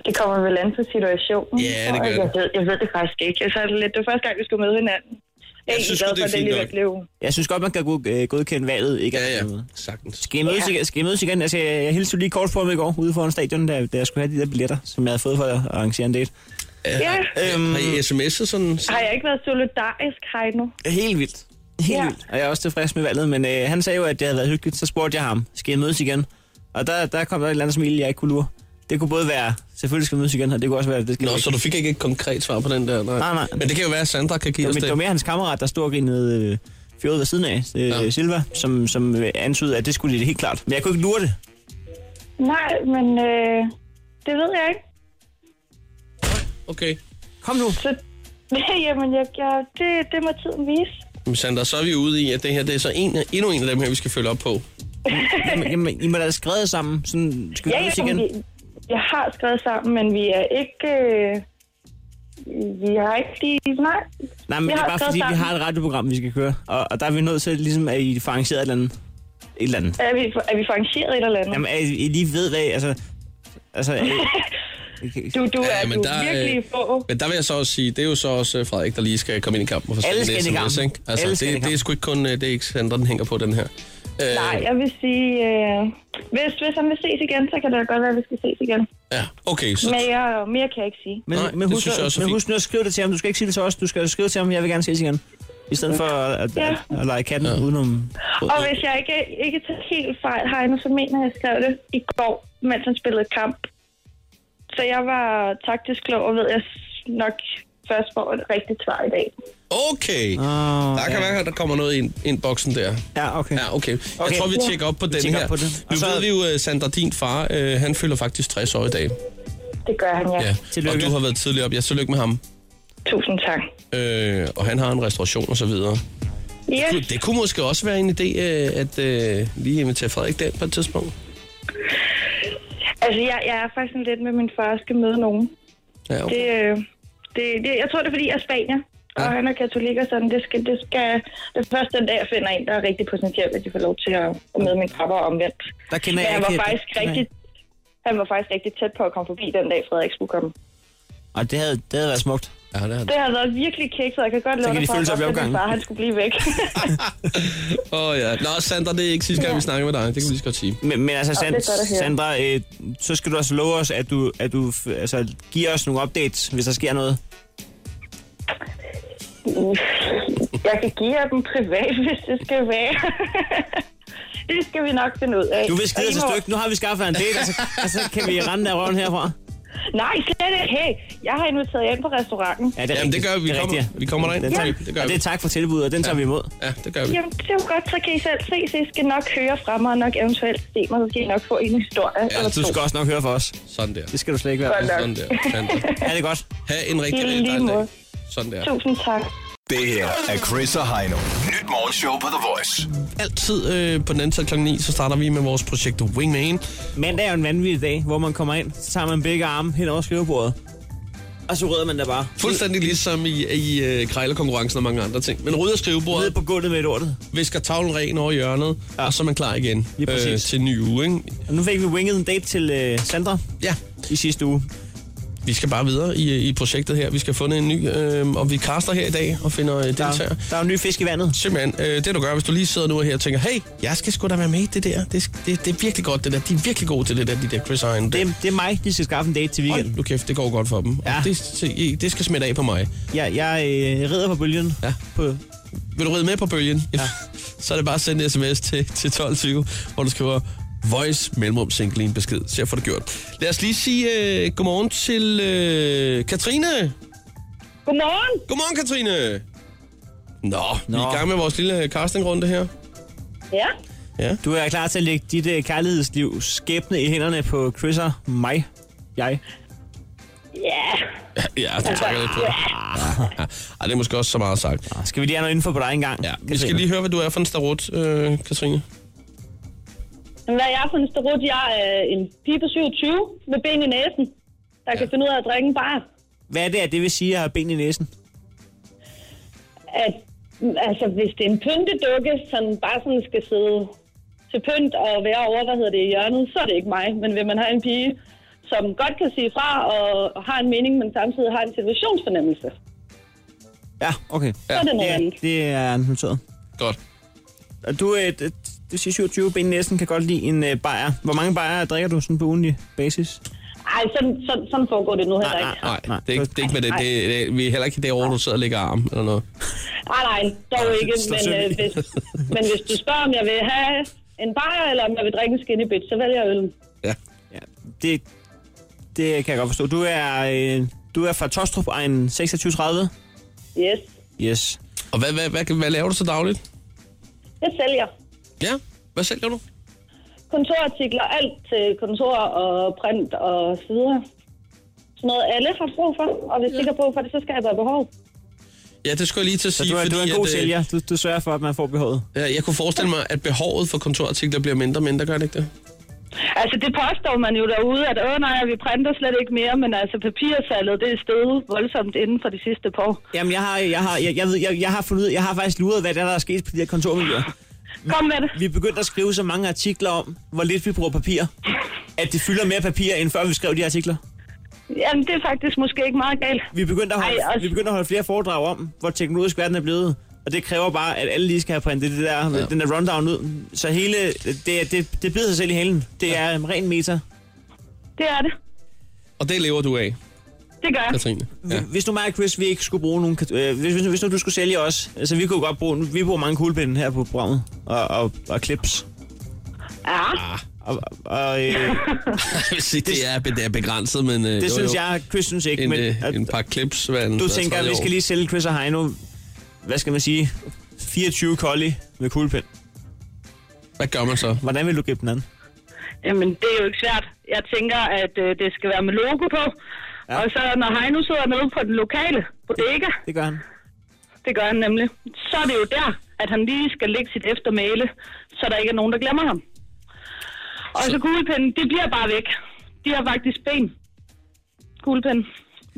Speaker 11: det kommer vel an på situationen.
Speaker 3: Ja, det
Speaker 11: tror jeg.
Speaker 3: gør
Speaker 11: jeg
Speaker 3: det.
Speaker 11: ved, jeg ved det faktisk ikke. Altså, det er lidt det første gang, vi skulle møde hinanden. Jeg, jeg
Speaker 3: synes
Speaker 11: synes,
Speaker 3: sgu,
Speaker 11: glad
Speaker 3: det
Speaker 11: for,
Speaker 3: er
Speaker 11: at det
Speaker 3: fint
Speaker 11: alligevel
Speaker 3: nok.
Speaker 11: blev.
Speaker 4: Jeg synes godt, man kan god- øh, godkende valget. Ikke
Speaker 3: Ja, ja.
Speaker 4: At,
Speaker 3: Sagtens.
Speaker 4: skal, I mødes, igen? skal I mødes igen? Altså, jeg, jeg hilste jo lige kort på ham i går ude foran stadion, da, da jeg skulle have de der billetter, som jeg havde fået for at arrangere en date.
Speaker 11: Ja,
Speaker 4: Øhm,
Speaker 3: Har I sms'et sådan?
Speaker 11: har jeg ikke været solidarisk, Heino?
Speaker 4: Helt vildt. Helt
Speaker 11: Ja.
Speaker 4: ja. vildt. Og jeg er også tilfreds med valget, men øh, han sagde jo, at det havde været hyggeligt. Så spurgte jeg ham, skal I mødes igen? Og der, der kom der et eller andet smil, jeg ikke kunne lure. Det kunne både være, selvfølgelig skal vi mødes igen, og det kunne også være, det skal
Speaker 3: Nå,
Speaker 4: vi
Speaker 3: så
Speaker 4: ikke.
Speaker 3: du fik ikke et konkret svar på den der? Nej.
Speaker 4: Nej, nej.
Speaker 3: Men det kan jo være, at Sandra kan give
Speaker 4: Det var,
Speaker 3: os
Speaker 4: men det var
Speaker 3: det.
Speaker 4: mere hans kammerat, der stod og grinede øh, fjollet ved siden af, øh,
Speaker 3: Ja.
Speaker 4: ja. Silva, som, som øh, antydede, at det skulle det helt klart. Men jeg kunne ikke lure
Speaker 11: (laughs)
Speaker 4: det.
Speaker 11: Nej, men øh, det ved jeg ikke.
Speaker 3: Okay.
Speaker 4: Kom nu.
Speaker 11: Så, (laughs) jamen, jeg, jeg, det, det må tiden vise.
Speaker 3: Men Sandra, så er vi ude i, at det her det er så en, endnu en af dem her, vi skal følge op på.
Speaker 4: Jamen, jamen, I må da have skrevet sammen. Sådan, skal vi
Speaker 11: Ja,
Speaker 4: mødes
Speaker 11: ja,
Speaker 4: igen?
Speaker 11: vi, jeg har skrevet sammen, men vi er ikke... Øh, vi har ikke lige... Nej.
Speaker 4: Nej, men
Speaker 11: vi
Speaker 4: det er
Speaker 11: har
Speaker 4: bare
Speaker 11: skrevet
Speaker 4: fordi, vi
Speaker 11: sammen.
Speaker 4: har et radioprogram, vi skal køre. Og, og der er vi nødt til, ligesom, at I får arrangeret et eller andet. Et eller andet.
Speaker 11: Er vi, er vi for arrangeret et eller andet?
Speaker 4: Jamen, at I lige ved, hvad... Altså, altså, øh,
Speaker 11: (laughs)
Speaker 4: okay.
Speaker 11: du, du er,
Speaker 3: Ja, men
Speaker 11: du
Speaker 3: der,
Speaker 11: er virkelig
Speaker 3: øh,
Speaker 11: få.
Speaker 3: Men der vil jeg så også sige, det er jo så også øh, Frederik, der lige skal komme ind i kampen. og forsvinde
Speaker 4: Alle skal
Speaker 3: lidt
Speaker 4: ind i
Speaker 3: sms,
Speaker 4: kampen.
Speaker 3: ikke? Altså,
Speaker 4: Alle skal ind i
Speaker 3: det, det er
Speaker 4: kampen.
Speaker 3: sgu ikke kun, øh, det er ikke Sandra, den hænger på den her. Øh,
Speaker 11: Nej, jeg vil sige... Øh, hvis, hvis han vil ses igen, så kan det godt være, at vi skal ses igen.
Speaker 3: Ja, okay, så
Speaker 11: Mere, mere kan jeg ikke sige.
Speaker 4: Men,
Speaker 3: Nej,
Speaker 4: men,
Speaker 3: det
Speaker 4: husk,
Speaker 3: synes jeg også er
Speaker 4: men
Speaker 3: fint.
Speaker 4: husk nu at skrive det til ham. Du skal ikke sige det til os. Du skal skrive til ham, jeg vil gerne ses igen. I stedet for at, at,
Speaker 11: Ja.
Speaker 4: at, at lege katten ja. udenom.
Speaker 11: Og hvis jeg ikke, ikke tager helt fejl, Heino, så mener jeg, jeg skrev det i går, mens han spillede kamp. Så jeg var taktisk klog, og ved jeg s- nok først får et rigtigt svar i dag.
Speaker 3: okay.
Speaker 4: Oh,
Speaker 3: Der kan være, at der kommer noget ind, ind boksen der.
Speaker 4: Ja, okay.
Speaker 3: Ja, okay. Jeg
Speaker 4: Okay.
Speaker 3: tror, vi
Speaker 4: Ja.
Speaker 3: tjekker op på den
Speaker 4: tjekker
Speaker 3: her.
Speaker 4: op på det. Og
Speaker 3: Nu
Speaker 4: så-
Speaker 3: ved vi jo, øh, Sandra, din far, øh, han fylder faktisk 60 år i dag.
Speaker 11: Det gør han, ja.
Speaker 3: Ja.
Speaker 4: Tillykke.
Speaker 3: Og du har været tidligere op. Ja, tillykke med ham.
Speaker 11: Tusind tak.
Speaker 3: Øh, og han har en restauration og så videre.
Speaker 11: Ja,
Speaker 3: Gud, Det kunne måske også være en idé, øh, at øh, lige invitere Frederik derind på et tidspunkt.
Speaker 11: altså jeg, jeg er faktisk sådan lidt med min far, jeg skal møde nogen.
Speaker 3: Ja,
Speaker 11: Det,
Speaker 3: okay.
Speaker 11: øh, det, det, jeg tror, det er, fordi jeg er spanier, og
Speaker 3: Ja.
Speaker 11: han er katolik og sådan. Det skal, det skal det er først den dag, jeg finder en, der er rigtig potentielt, at de får lov til at, at møde min pappa og omvendt.
Speaker 4: Der kender
Speaker 11: Men
Speaker 4: jeg
Speaker 11: han
Speaker 4: ikke...
Speaker 11: var faktisk
Speaker 4: der kender jeg
Speaker 11: rigtig, han var faktisk rigtig tæt på at komme forbi den dag, Frederik skulle komme.
Speaker 4: ikke. Og det havde, det havde været smukt.
Speaker 3: Ja, det har
Speaker 11: Det har været virkelig kikset, og jeg kan godt love
Speaker 4: kan de
Speaker 11: dig for,
Speaker 4: føle sig
Speaker 11: at
Speaker 4: op i
Speaker 11: min
Speaker 4: opgangen.
Speaker 11: far han skulle blive væk.
Speaker 3: Åh ja. Nå, Sandra, det er ikke sidste gang, vi snakker med dig. Det kan vi lige så godt sige.
Speaker 4: Men, men altså,
Speaker 11: det er
Speaker 4: Sand,
Speaker 11: godt at høre.
Speaker 4: Sandra, øh, så skal du også love os, at du, at du f- altså, giver os nogle updates, hvis der sker noget.
Speaker 11: (laughs) jeg kan give jer dem privat, hvis det skal være. (laughs) det skal vi nok finde ud af.
Speaker 4: Du vil skide
Speaker 11: Og I
Speaker 4: til
Speaker 11: må-
Speaker 4: stykke. Nu har vi skaffet dig en date, og så, og så kan vi rende af røven herfra.
Speaker 11: Nej, slet ikke. Hey, jeg har inviteret jer ind på restauranten.
Speaker 4: Ja, det er
Speaker 3: Jamen, det gør vi. Vi
Speaker 4: er
Speaker 3: kommer-
Speaker 4: rigtigt,
Speaker 3: vi kommer derind.
Speaker 4: Den tager,
Speaker 3: Ja.
Speaker 4: vi.
Speaker 3: Det gør
Speaker 4: og
Speaker 3: vi.
Speaker 4: det er tak for tilbuddet, og den tager vi imod.
Speaker 3: Ja, det gør vi.
Speaker 11: Jamen, det er jo godt, så kan I selv se, så I skal nok høre fra mig, og nok eventuelt se mig, så skal I nok få en historie.
Speaker 3: Ja, du
Speaker 11: eller to.
Speaker 4: Du skal også nok høre for os.
Speaker 3: Sådan der.
Speaker 4: Det skal du slet ikke være.
Speaker 11: Godt nok.
Speaker 3: Sådan der. Sandra.
Speaker 4: Ja, det er godt.
Speaker 3: Ha' en rigtig
Speaker 11: I
Speaker 3: rigtig
Speaker 11: lige
Speaker 3: dejlig dag.
Speaker 11: måde.
Speaker 3: Sådan der.
Speaker 11: Tusind tak.
Speaker 12: Det her er Chris og Heino. Nyt morgenshow på The Voice.
Speaker 3: Altid øh, på den anden side kl. 9, så starter vi med vores projekt Wingman.
Speaker 4: Mandag er jo en vanvittig dag, hvor man kommer ind, så tager man begge arme hen over skrivebordet. Og så rydder man der bare.
Speaker 3: Fuldstændig ligesom i, i øh, krejlerkonkurrencen og mange andre ting. Men rydder
Speaker 4: Ned
Speaker 3: skrivebordet,
Speaker 4: på gulvet med lortet.
Speaker 3: visker tavlen ren over hjørnet, ja. og så er man klar igen øh,
Speaker 4: Lige præcis.
Speaker 3: til en ny uge. Ikke?
Speaker 4: Og nu fik vi winget en date til øh, Sandra
Speaker 3: Ja,
Speaker 4: i sidste uge.
Speaker 3: vi skal bare videre i, i projektet her. Vi skal have fundet en ny, øh, og vi kaster her i dag og finder øh,
Speaker 4: Der,
Speaker 3: deltagere.
Speaker 4: der er jo en ny fisk i vandet.
Speaker 3: Simpelthen, øh, det du gør, hvis du lige sidder nu her og tænker, hey, jeg skal sgu da være med i det der. Det, det, det er virkelig godt, det der. De er virkelig gode til det der, de der Chris Hine.
Speaker 4: Det, det er mig, de skal skaffe en date til weekenden.
Speaker 3: Hold nu kæft, det går godt for dem. Ja.
Speaker 4: Ja.
Speaker 3: Det, se, det skal smitte af på mig.
Speaker 4: Jeg, jeg øh, rider på bølgen.
Speaker 3: Ja.
Speaker 4: På,
Speaker 3: Vil du ride med på bølgen? Ja. (laughs) så er det bare at sende en sms til, til 1220, hvor du skriver voice mellemrum single i en besked. Så jeg får det gjort. Lad os lige sige øh, godmorgen til øh, Katrine.
Speaker 11: Godmorgen.
Speaker 3: Godmorgen, Katrine. Nå, Nå, vi er
Speaker 4: Nå.
Speaker 3: i gang med vores lille øh, castingrunde her. (laughs)
Speaker 11: Ja.
Speaker 3: Ja.
Speaker 4: du er klar til at lægge dit øh, kærlighedsliv skæbne i hænderne på Chris og mig. Jeg.
Speaker 11: Ja.
Speaker 3: Ja, du trækker lidt på det. Ja. (laughs) Ej, det er måske også så meget sagt.
Speaker 4: Ah, Skal vi lige have noget info på dig engang?
Speaker 3: Ja, vi skal lige høre, hvad du er for en starot, øh, Katrine.
Speaker 13: Jamen, Hvad er jeg for en starut? Jeg er øh, en pige på 27 med ben i næsen, der kan finde ud af at drikke en bar.
Speaker 4: Hvad er det, at det vil sige, at jeg har ben i næsen?
Speaker 11: At, altså, hvis det er en pyntedukke, som bare sådan skal sidde til pynt og være over, hvad hedder det, i hjørnet, så er det ikke mig. Men vil man have en pige, som godt kan sige fra og har en mening, men samtidig har en situationsfornemmelse,
Speaker 4: Ja, okay.
Speaker 11: så er det noget
Speaker 4: Ja,
Speaker 11: andet.
Speaker 4: det er noteret.
Speaker 3: Godt.
Speaker 4: Og du, øh, d- du siger 27 ben i næsen, kan godt lide en øh, bajer. Hvor mange bajer drikker du sådan på ugenlig basis?
Speaker 11: Ej, sådan, sådan, sådan foregår det nu heller ikke.
Speaker 3: Nej, nej, det er ikke, det er ikke med det. det, det vi er heller ikke derovre, du sidder og lægger arm eller noget.
Speaker 11: Nej, nej, dog ikke.
Speaker 3: slå
Speaker 11: Men,
Speaker 3: søm i.
Speaker 11: øh, hvis, men hvis du spørger, om jeg vil have en bajer, eller om jeg vil drikke en skinny bitch, så vælger jeg øl.
Speaker 4: Det, det kan jeg godt forstå. Du er, øh, du er fra Tostrup, egen 2630.
Speaker 11: Yes,
Speaker 4: Yes.
Speaker 3: Og hvad, hvad, hvad, hvad laver du så dagligt?
Speaker 11: jeg sælger.
Speaker 3: Ja, hvad sælger du?
Speaker 11: Kontorartikler, alt til kontor og print og så videre. Sådan noget, alle har brug for, og hvis ja. ikke har brug for det, så skaber jeg behov.
Speaker 3: Ja, det skulle jeg lige til at
Speaker 4: Så
Speaker 3: sige.
Speaker 4: du er, du er en
Speaker 3: fordi
Speaker 4: god
Speaker 3: at, øh,
Speaker 4: sælger. Du, du sørger for, at man får behovet.
Speaker 3: Ja, jeg kunne forestille mig, at behovet for kontorartikler bliver mindre og mindre, gør det ikke det?
Speaker 11: Altså, det påstår man jo derude, at åh nej, vi printer slet ikke mere, men altså papirsalget, det er steget voldsomt inden for de sidste par år.
Speaker 4: Jamen, jeg har, jeg har, jeg, jeg, ved, jeg, jeg har fundet, ud- jeg har faktisk luret, hvad det er, der er sket på de her kontormiljøer.
Speaker 11: Kom med det.
Speaker 4: Vi er begyndt at skrive så mange artikler om, hvor lidt vi bruger papir, at det fylder mere papir, end før vi skrev de artikler.
Speaker 11: Jamen, det er faktisk måske ikke meget galt.
Speaker 4: Vi er begyndt at holde,
Speaker 11: Ej, også-
Speaker 4: vi er begyndt at holde flere foredrag om, hvor teknologisk verden er blevet. Og det kræver bare, at alle lige skal have printet det der, ja. den der rundown ud. Så hele, det, er- det, det bider sig selv i halen. Det ja. er ren meta.
Speaker 11: Det er det.
Speaker 3: Og det lever du af,
Speaker 11: Det gør jeg.
Speaker 3: Katrine. Ja.
Speaker 4: Hvis nu mig og Chris, vi ikke skulle bruge nogen... kat- Øh, hvis, hvis, nu- hvis nu du skulle sælge os, altså vi kunne godt bruge... Vi bruger mange kuglepinde her på programmet, og, og, og clips.
Speaker 11: Ja.
Speaker 4: Og, og,
Speaker 3: (laughs)
Speaker 4: øh,
Speaker 3: Jeg vil sige, det er, det er begrænset, men øh,
Speaker 4: det
Speaker 3: jo,
Speaker 4: synes
Speaker 3: jo.
Speaker 4: jeg, Chris synes ikke,
Speaker 3: En,
Speaker 4: men...
Speaker 3: øh,
Speaker 4: at-
Speaker 3: en par clips hver anden-
Speaker 4: Du
Speaker 3: hver
Speaker 4: tænker, at
Speaker 3: tredje
Speaker 4: vi skal
Speaker 3: år.
Speaker 4: lige sælge Chris og Heino, hvad skal man sige, 24 kolde med kuglepind.
Speaker 3: Hvad gør man så?
Speaker 4: Hvordan vil du gribe den anden?
Speaker 11: Jamen, det er jo ikke svært. Jeg tænker, at øh, det skal være med logo på. Ja. Og så når Heino sidder nede på den lokale bodega,
Speaker 4: Det gør han.
Speaker 11: det gør han nemlig, så er det jo der, at han lige skal lægge sit eftermæle, så der ikke er nogen, der glemmer ham. Og så kuglepinden, det bliver bare væk. De har faktisk ben. Kuglepinden.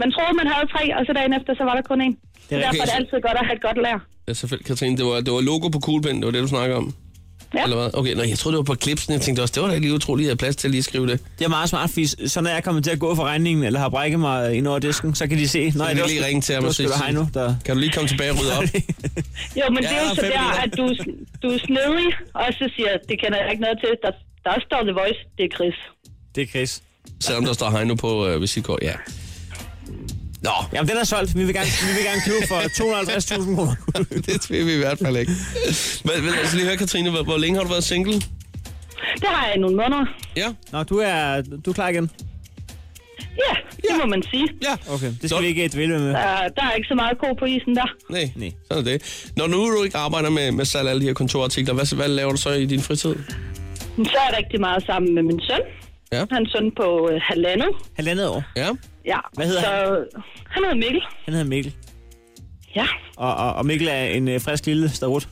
Speaker 11: Man troede, man havde tre, og så dagen efter, så var der kun en. Det er derfor er det altid godt at have et godt lær.
Speaker 3: Ja, selvfølgelig, Katrine, det var, det var logo på kuglepinden, det var det, du snakker om.
Speaker 11: Ja.
Speaker 3: Eller hvad? Okay, nå, jeg troede, det var på klipsen. Jeg tænkte også, det var da lige utroligt, at jeg havde plads til at lige skrive det.
Speaker 4: Det er meget smart, fordi så når jeg kommer til at gå for regningen, eller har brækket mig ind over disken, så kan de se, nej,
Speaker 3: kan
Speaker 4: det
Speaker 3: vi
Speaker 4: var
Speaker 3: lige
Speaker 4: sgu-
Speaker 3: ringe til ham
Speaker 4: det var
Speaker 3: og
Speaker 4: sgu
Speaker 3: sige,
Speaker 4: da Heino, der...
Speaker 3: Kan du lige komme tilbage og rydde (laughs) op?
Speaker 11: Jo, men
Speaker 3: Ja,
Speaker 11: det er jo så
Speaker 3: fem
Speaker 11: der,
Speaker 3: minutter.
Speaker 11: at du, du er snedig, og så siger, det kender jeg ikke noget til. Der, der står The Voice, det er Chris.
Speaker 4: Det er Chris.
Speaker 3: Selvom der står Heino på øh, visitkort, ja. Nå,
Speaker 4: Jamen, den er solgt. Vi vil gerne, vi vil gerne købe for 250.000
Speaker 3: (laughs)
Speaker 4: kroner.
Speaker 3: det tror vi i hvert fald ikke. Men, men altså lige høre, Katrine, hvor, hvor længe har du været single?
Speaker 11: Det har jeg i nogle måneder.
Speaker 3: Ja,
Speaker 4: Nå, du er, du er klar igen.
Speaker 11: Ja, det må man sige.
Speaker 3: ja.
Speaker 4: Okay, det
Speaker 3: Nå.
Speaker 4: skal vi ikke dvæle med.
Speaker 11: Der, der er ikke så meget ko på isen der.
Speaker 3: Nej,
Speaker 4: Nej.
Speaker 3: sådan er det. Når nu du ikke arbejder med, med salg af alle de her kontorartikler, hvad, hvad laver du så i din fritid?
Speaker 11: Men så er jeg rigtig meget sammen med min søn.
Speaker 3: Ja.
Speaker 11: Hans søn på øh, halvandet.
Speaker 4: Halvandet år.
Speaker 3: Ja,
Speaker 11: Ja.
Speaker 4: Hvad hedder
Speaker 11: så, han? hedder Mikkel.
Speaker 4: Han hedder Mikkel.
Speaker 11: Ja,
Speaker 4: Og, og, og Mikkel er en øh, frisk lille starut.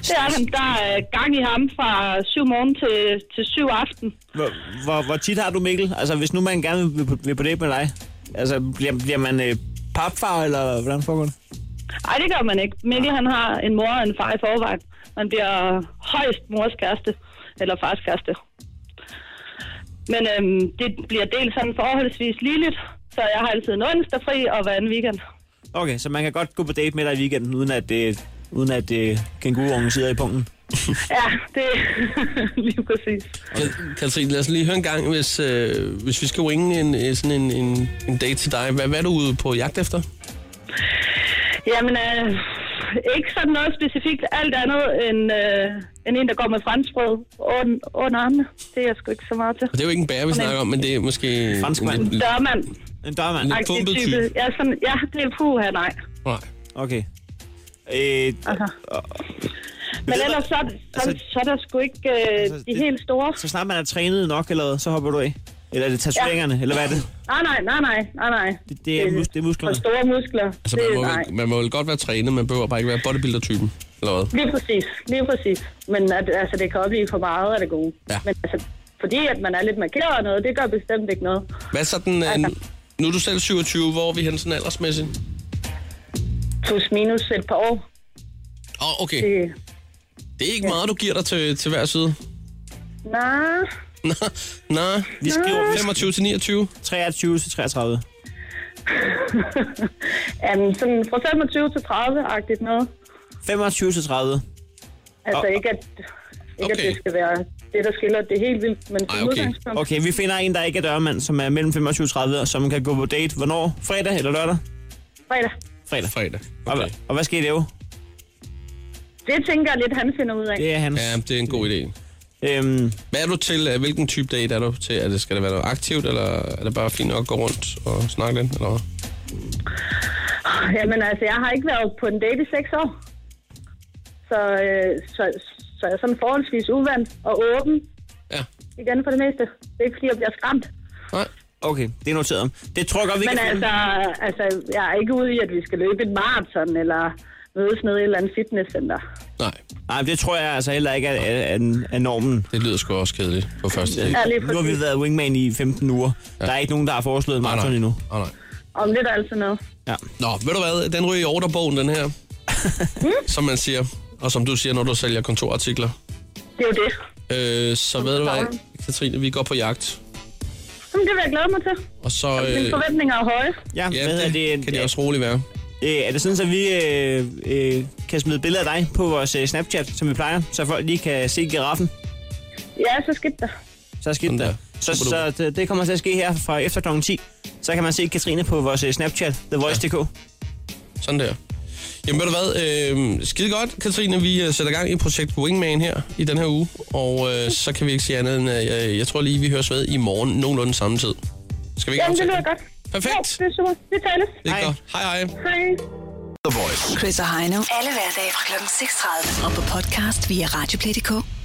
Speaker 11: det er han. Der er gang i ham fra syv morgen til, til syv aften.
Speaker 4: Hvor, hvor, hvor tit har du Mikkel? Altså, hvis nu man gerne vil, på- vil på date med dig, altså, bliver, bliver man øh, papfar, eller hvordan foregår det?
Speaker 11: Ej, det gør man ikke. Mikkel han har en mor og en far i forvejen. Man bliver højst mors kæreste, eller fars kæreste. Men øhm, det bliver delt sådan forholdsvis ligeligt, så jeg har altid en onsdag fri og hver anden weekend.
Speaker 4: Okay, så man kan godt gå på date med dig i weekenden, uden at, øh, uden at øh, kænguruungen sidder i punkten.
Speaker 11: Ja, det (laughs) er lige præcis.
Speaker 3: Ka- Katrine, lad os lige høre en gang, hvis, øh, hvis vi skal ringe en, øh, sådan en, en, en date til dig. Hvad, hvad er du ude på jagt efter?
Speaker 11: Jamen, øh, ikke sådan noget specifikt. Alt andet end, øh, end en, der går med franskbrød under, under armene. Det er jeg sgu ikke så meget til.
Speaker 3: Og det er jo ikke en bære, vi snakker om, men det er måske... en
Speaker 4: Franskmand.
Speaker 3: lidt-
Speaker 11: Dørmand.
Speaker 4: En dørmand.
Speaker 3: Lidt
Speaker 11: Agtig
Speaker 3: pumpet
Speaker 11: type.
Speaker 3: type.
Speaker 11: Ja, sådan, ja, det er puha, nej.
Speaker 3: Nej.
Speaker 4: Okay. Øh,
Speaker 11: Aha. Men
Speaker 4: ved,
Speaker 11: ellers så, er det- så,
Speaker 4: altså-
Speaker 11: altså, så er der sgu ikke øh,
Speaker 4: Altså,
Speaker 11: altså, de
Speaker 4: det-
Speaker 11: helt store.
Speaker 4: så snart man er trænet nok, eller hvad, så hopper du af. Eller er det tatoveringerne, ja. eller hvad er det?
Speaker 11: Nej, nej, nej, nej, nej, nej.
Speaker 4: Det, det, er, mus, det er
Speaker 11: For
Speaker 4: musklerne.
Speaker 11: store muskler.
Speaker 3: Altså,
Speaker 11: Altså,
Speaker 3: man
Speaker 11: det,
Speaker 3: må,
Speaker 11: nej.
Speaker 3: vel, man må vel godt være trænet, man behøver bare ikke være bodybuilder-typen. Eller hvad?
Speaker 11: Lige præcis, lige præcis. Men at, altså, det kan også blive for meget af det gode.
Speaker 3: Ja.
Speaker 11: Men altså, fordi at man er lidt markeret og noget, det gør bestemt ikke noget.
Speaker 3: Hvad er så den, øh,
Speaker 11: Altså.
Speaker 3: Nu er du selv 27. Hvor er vi henne sådan aldersmæssigt?
Speaker 11: Plus minus et par år.
Speaker 3: Åh, oh, okay.
Speaker 11: Det,
Speaker 3: Det er ikke meget, du giver dig til, til hver side.
Speaker 11: nej,
Speaker 3: Nej.
Speaker 4: Vi skriver
Speaker 3: 25 til 29.
Speaker 4: 23 til 33.
Speaker 11: um, sådan fra 25 til 30-agtigt noget.
Speaker 4: 25 til 30.
Speaker 11: Altså
Speaker 4: Og-
Speaker 11: ikke, at, ikke
Speaker 4: okay.
Speaker 11: at det skal være det, der skiller det er helt vildt, men som Ej,
Speaker 4: Okay.
Speaker 11: udgangspunkt.
Speaker 4: okay, vi finder en, der ikke er dørmand, som er mellem 25 og 30, og som kan gå på date. Hvornår? Fredag eller lørdag?
Speaker 11: Fredag.
Speaker 4: Fredag.
Speaker 3: Fredag.
Speaker 4: Okay. Og, og hvad skal I lave?
Speaker 11: Det tænker jeg lidt, han finder ud af.
Speaker 4: Det er hans.
Speaker 3: Ja, det er en god idé.
Speaker 4: Øhm.
Speaker 3: Hvad er du til? øh, Hvilken type date er du til? Er det, skal det være noget aktivt, eller er det bare fint nok at gå rundt og snakke lidt? Eller? hvad?
Speaker 11: (laughs) Jamen altså, jeg har ikke været på en date i seks år. Så, øh, så, så jeg er sådan forholdsvis uvant og åben.
Speaker 3: Ja.
Speaker 11: Igen for det meste. Det er ikke, fordi jeg bliver skræmt.
Speaker 3: Nej.
Speaker 4: Okay, det er noteret. Det tror jeg godt, vi
Speaker 11: Men
Speaker 4: kan finde.
Speaker 11: altså, altså, jeg er ikke ude i, at vi skal løbe et maraton eller mødes nede i et eller andet fitnesscenter.
Speaker 3: Nej.
Speaker 4: Nej, det tror jeg altså heller ikke er, er, er, er normen.
Speaker 3: Det lyder sgu også kedeligt på første date.
Speaker 11: Ja, lige
Speaker 4: Nu har vi
Speaker 11: præcis.
Speaker 4: været wingman i 15 uger. Ja. Der er ikke nogen, der har foreslået
Speaker 3: Ah, nej.
Speaker 4: maraton endnu.
Speaker 3: Åh, nej.
Speaker 11: Om lidt er altså noget.
Speaker 4: Ja.
Speaker 3: Nå, ved du hvad? Den ryger i orderbogen, den (laughs) her. som man siger. Og som du siger, når du sælger kontorartikler.
Speaker 11: Det er jo det.
Speaker 3: Øh, så ved du hvad,
Speaker 11: sådan.
Speaker 3: Katrine, vi går på jagt.
Speaker 11: Jamen, det vil jeg glæde mig til.
Speaker 3: Og så... Øh,
Speaker 11: Mine forventninger er høje.
Speaker 4: Ja,
Speaker 3: ja,
Speaker 4: hvad
Speaker 3: det,
Speaker 4: hedder det?
Speaker 3: kan det også roligt være.
Speaker 4: Øh, er det sådan, at vi øh, øh, kan smide billeder af dig på vores øh, Snapchat, som vi plejer, så folk lige kan se giraffen?
Speaker 11: Ja, så skidt der.
Speaker 4: Så er skidt
Speaker 3: Sådan
Speaker 4: der.
Speaker 3: der.
Speaker 4: Så,
Speaker 3: Superduper.
Speaker 4: så det, det kommer til at ske her fra efter kl. 10. Så kan man se Katrine på vores øh, Snapchat, TheVoice.dk.
Speaker 3: Sådan der. Jamen ved du hvad, øh, skide godt, Katrine. Vi øh, sætter gang i projekt Wingman her i den her uge. Og øh, så kan vi ikke sige andet end, øh, jeg, jeg tror lige, vi høres ved i morgen nogenlunde samme tid. Skal vi ikke
Speaker 11: Jamen, det
Speaker 3: aftale
Speaker 11: lyder godt.
Speaker 3: Perfekt.
Speaker 11: Ja, det er super. Vi tales.
Speaker 3: Det er
Speaker 4: Hej.
Speaker 3: godt. Hej hej.
Speaker 11: Hej.
Speaker 5: The Voice.
Speaker 2: Chris og Heino. Alle hverdage fra kl. 6.30. Og på podcast via Radioplay.dk.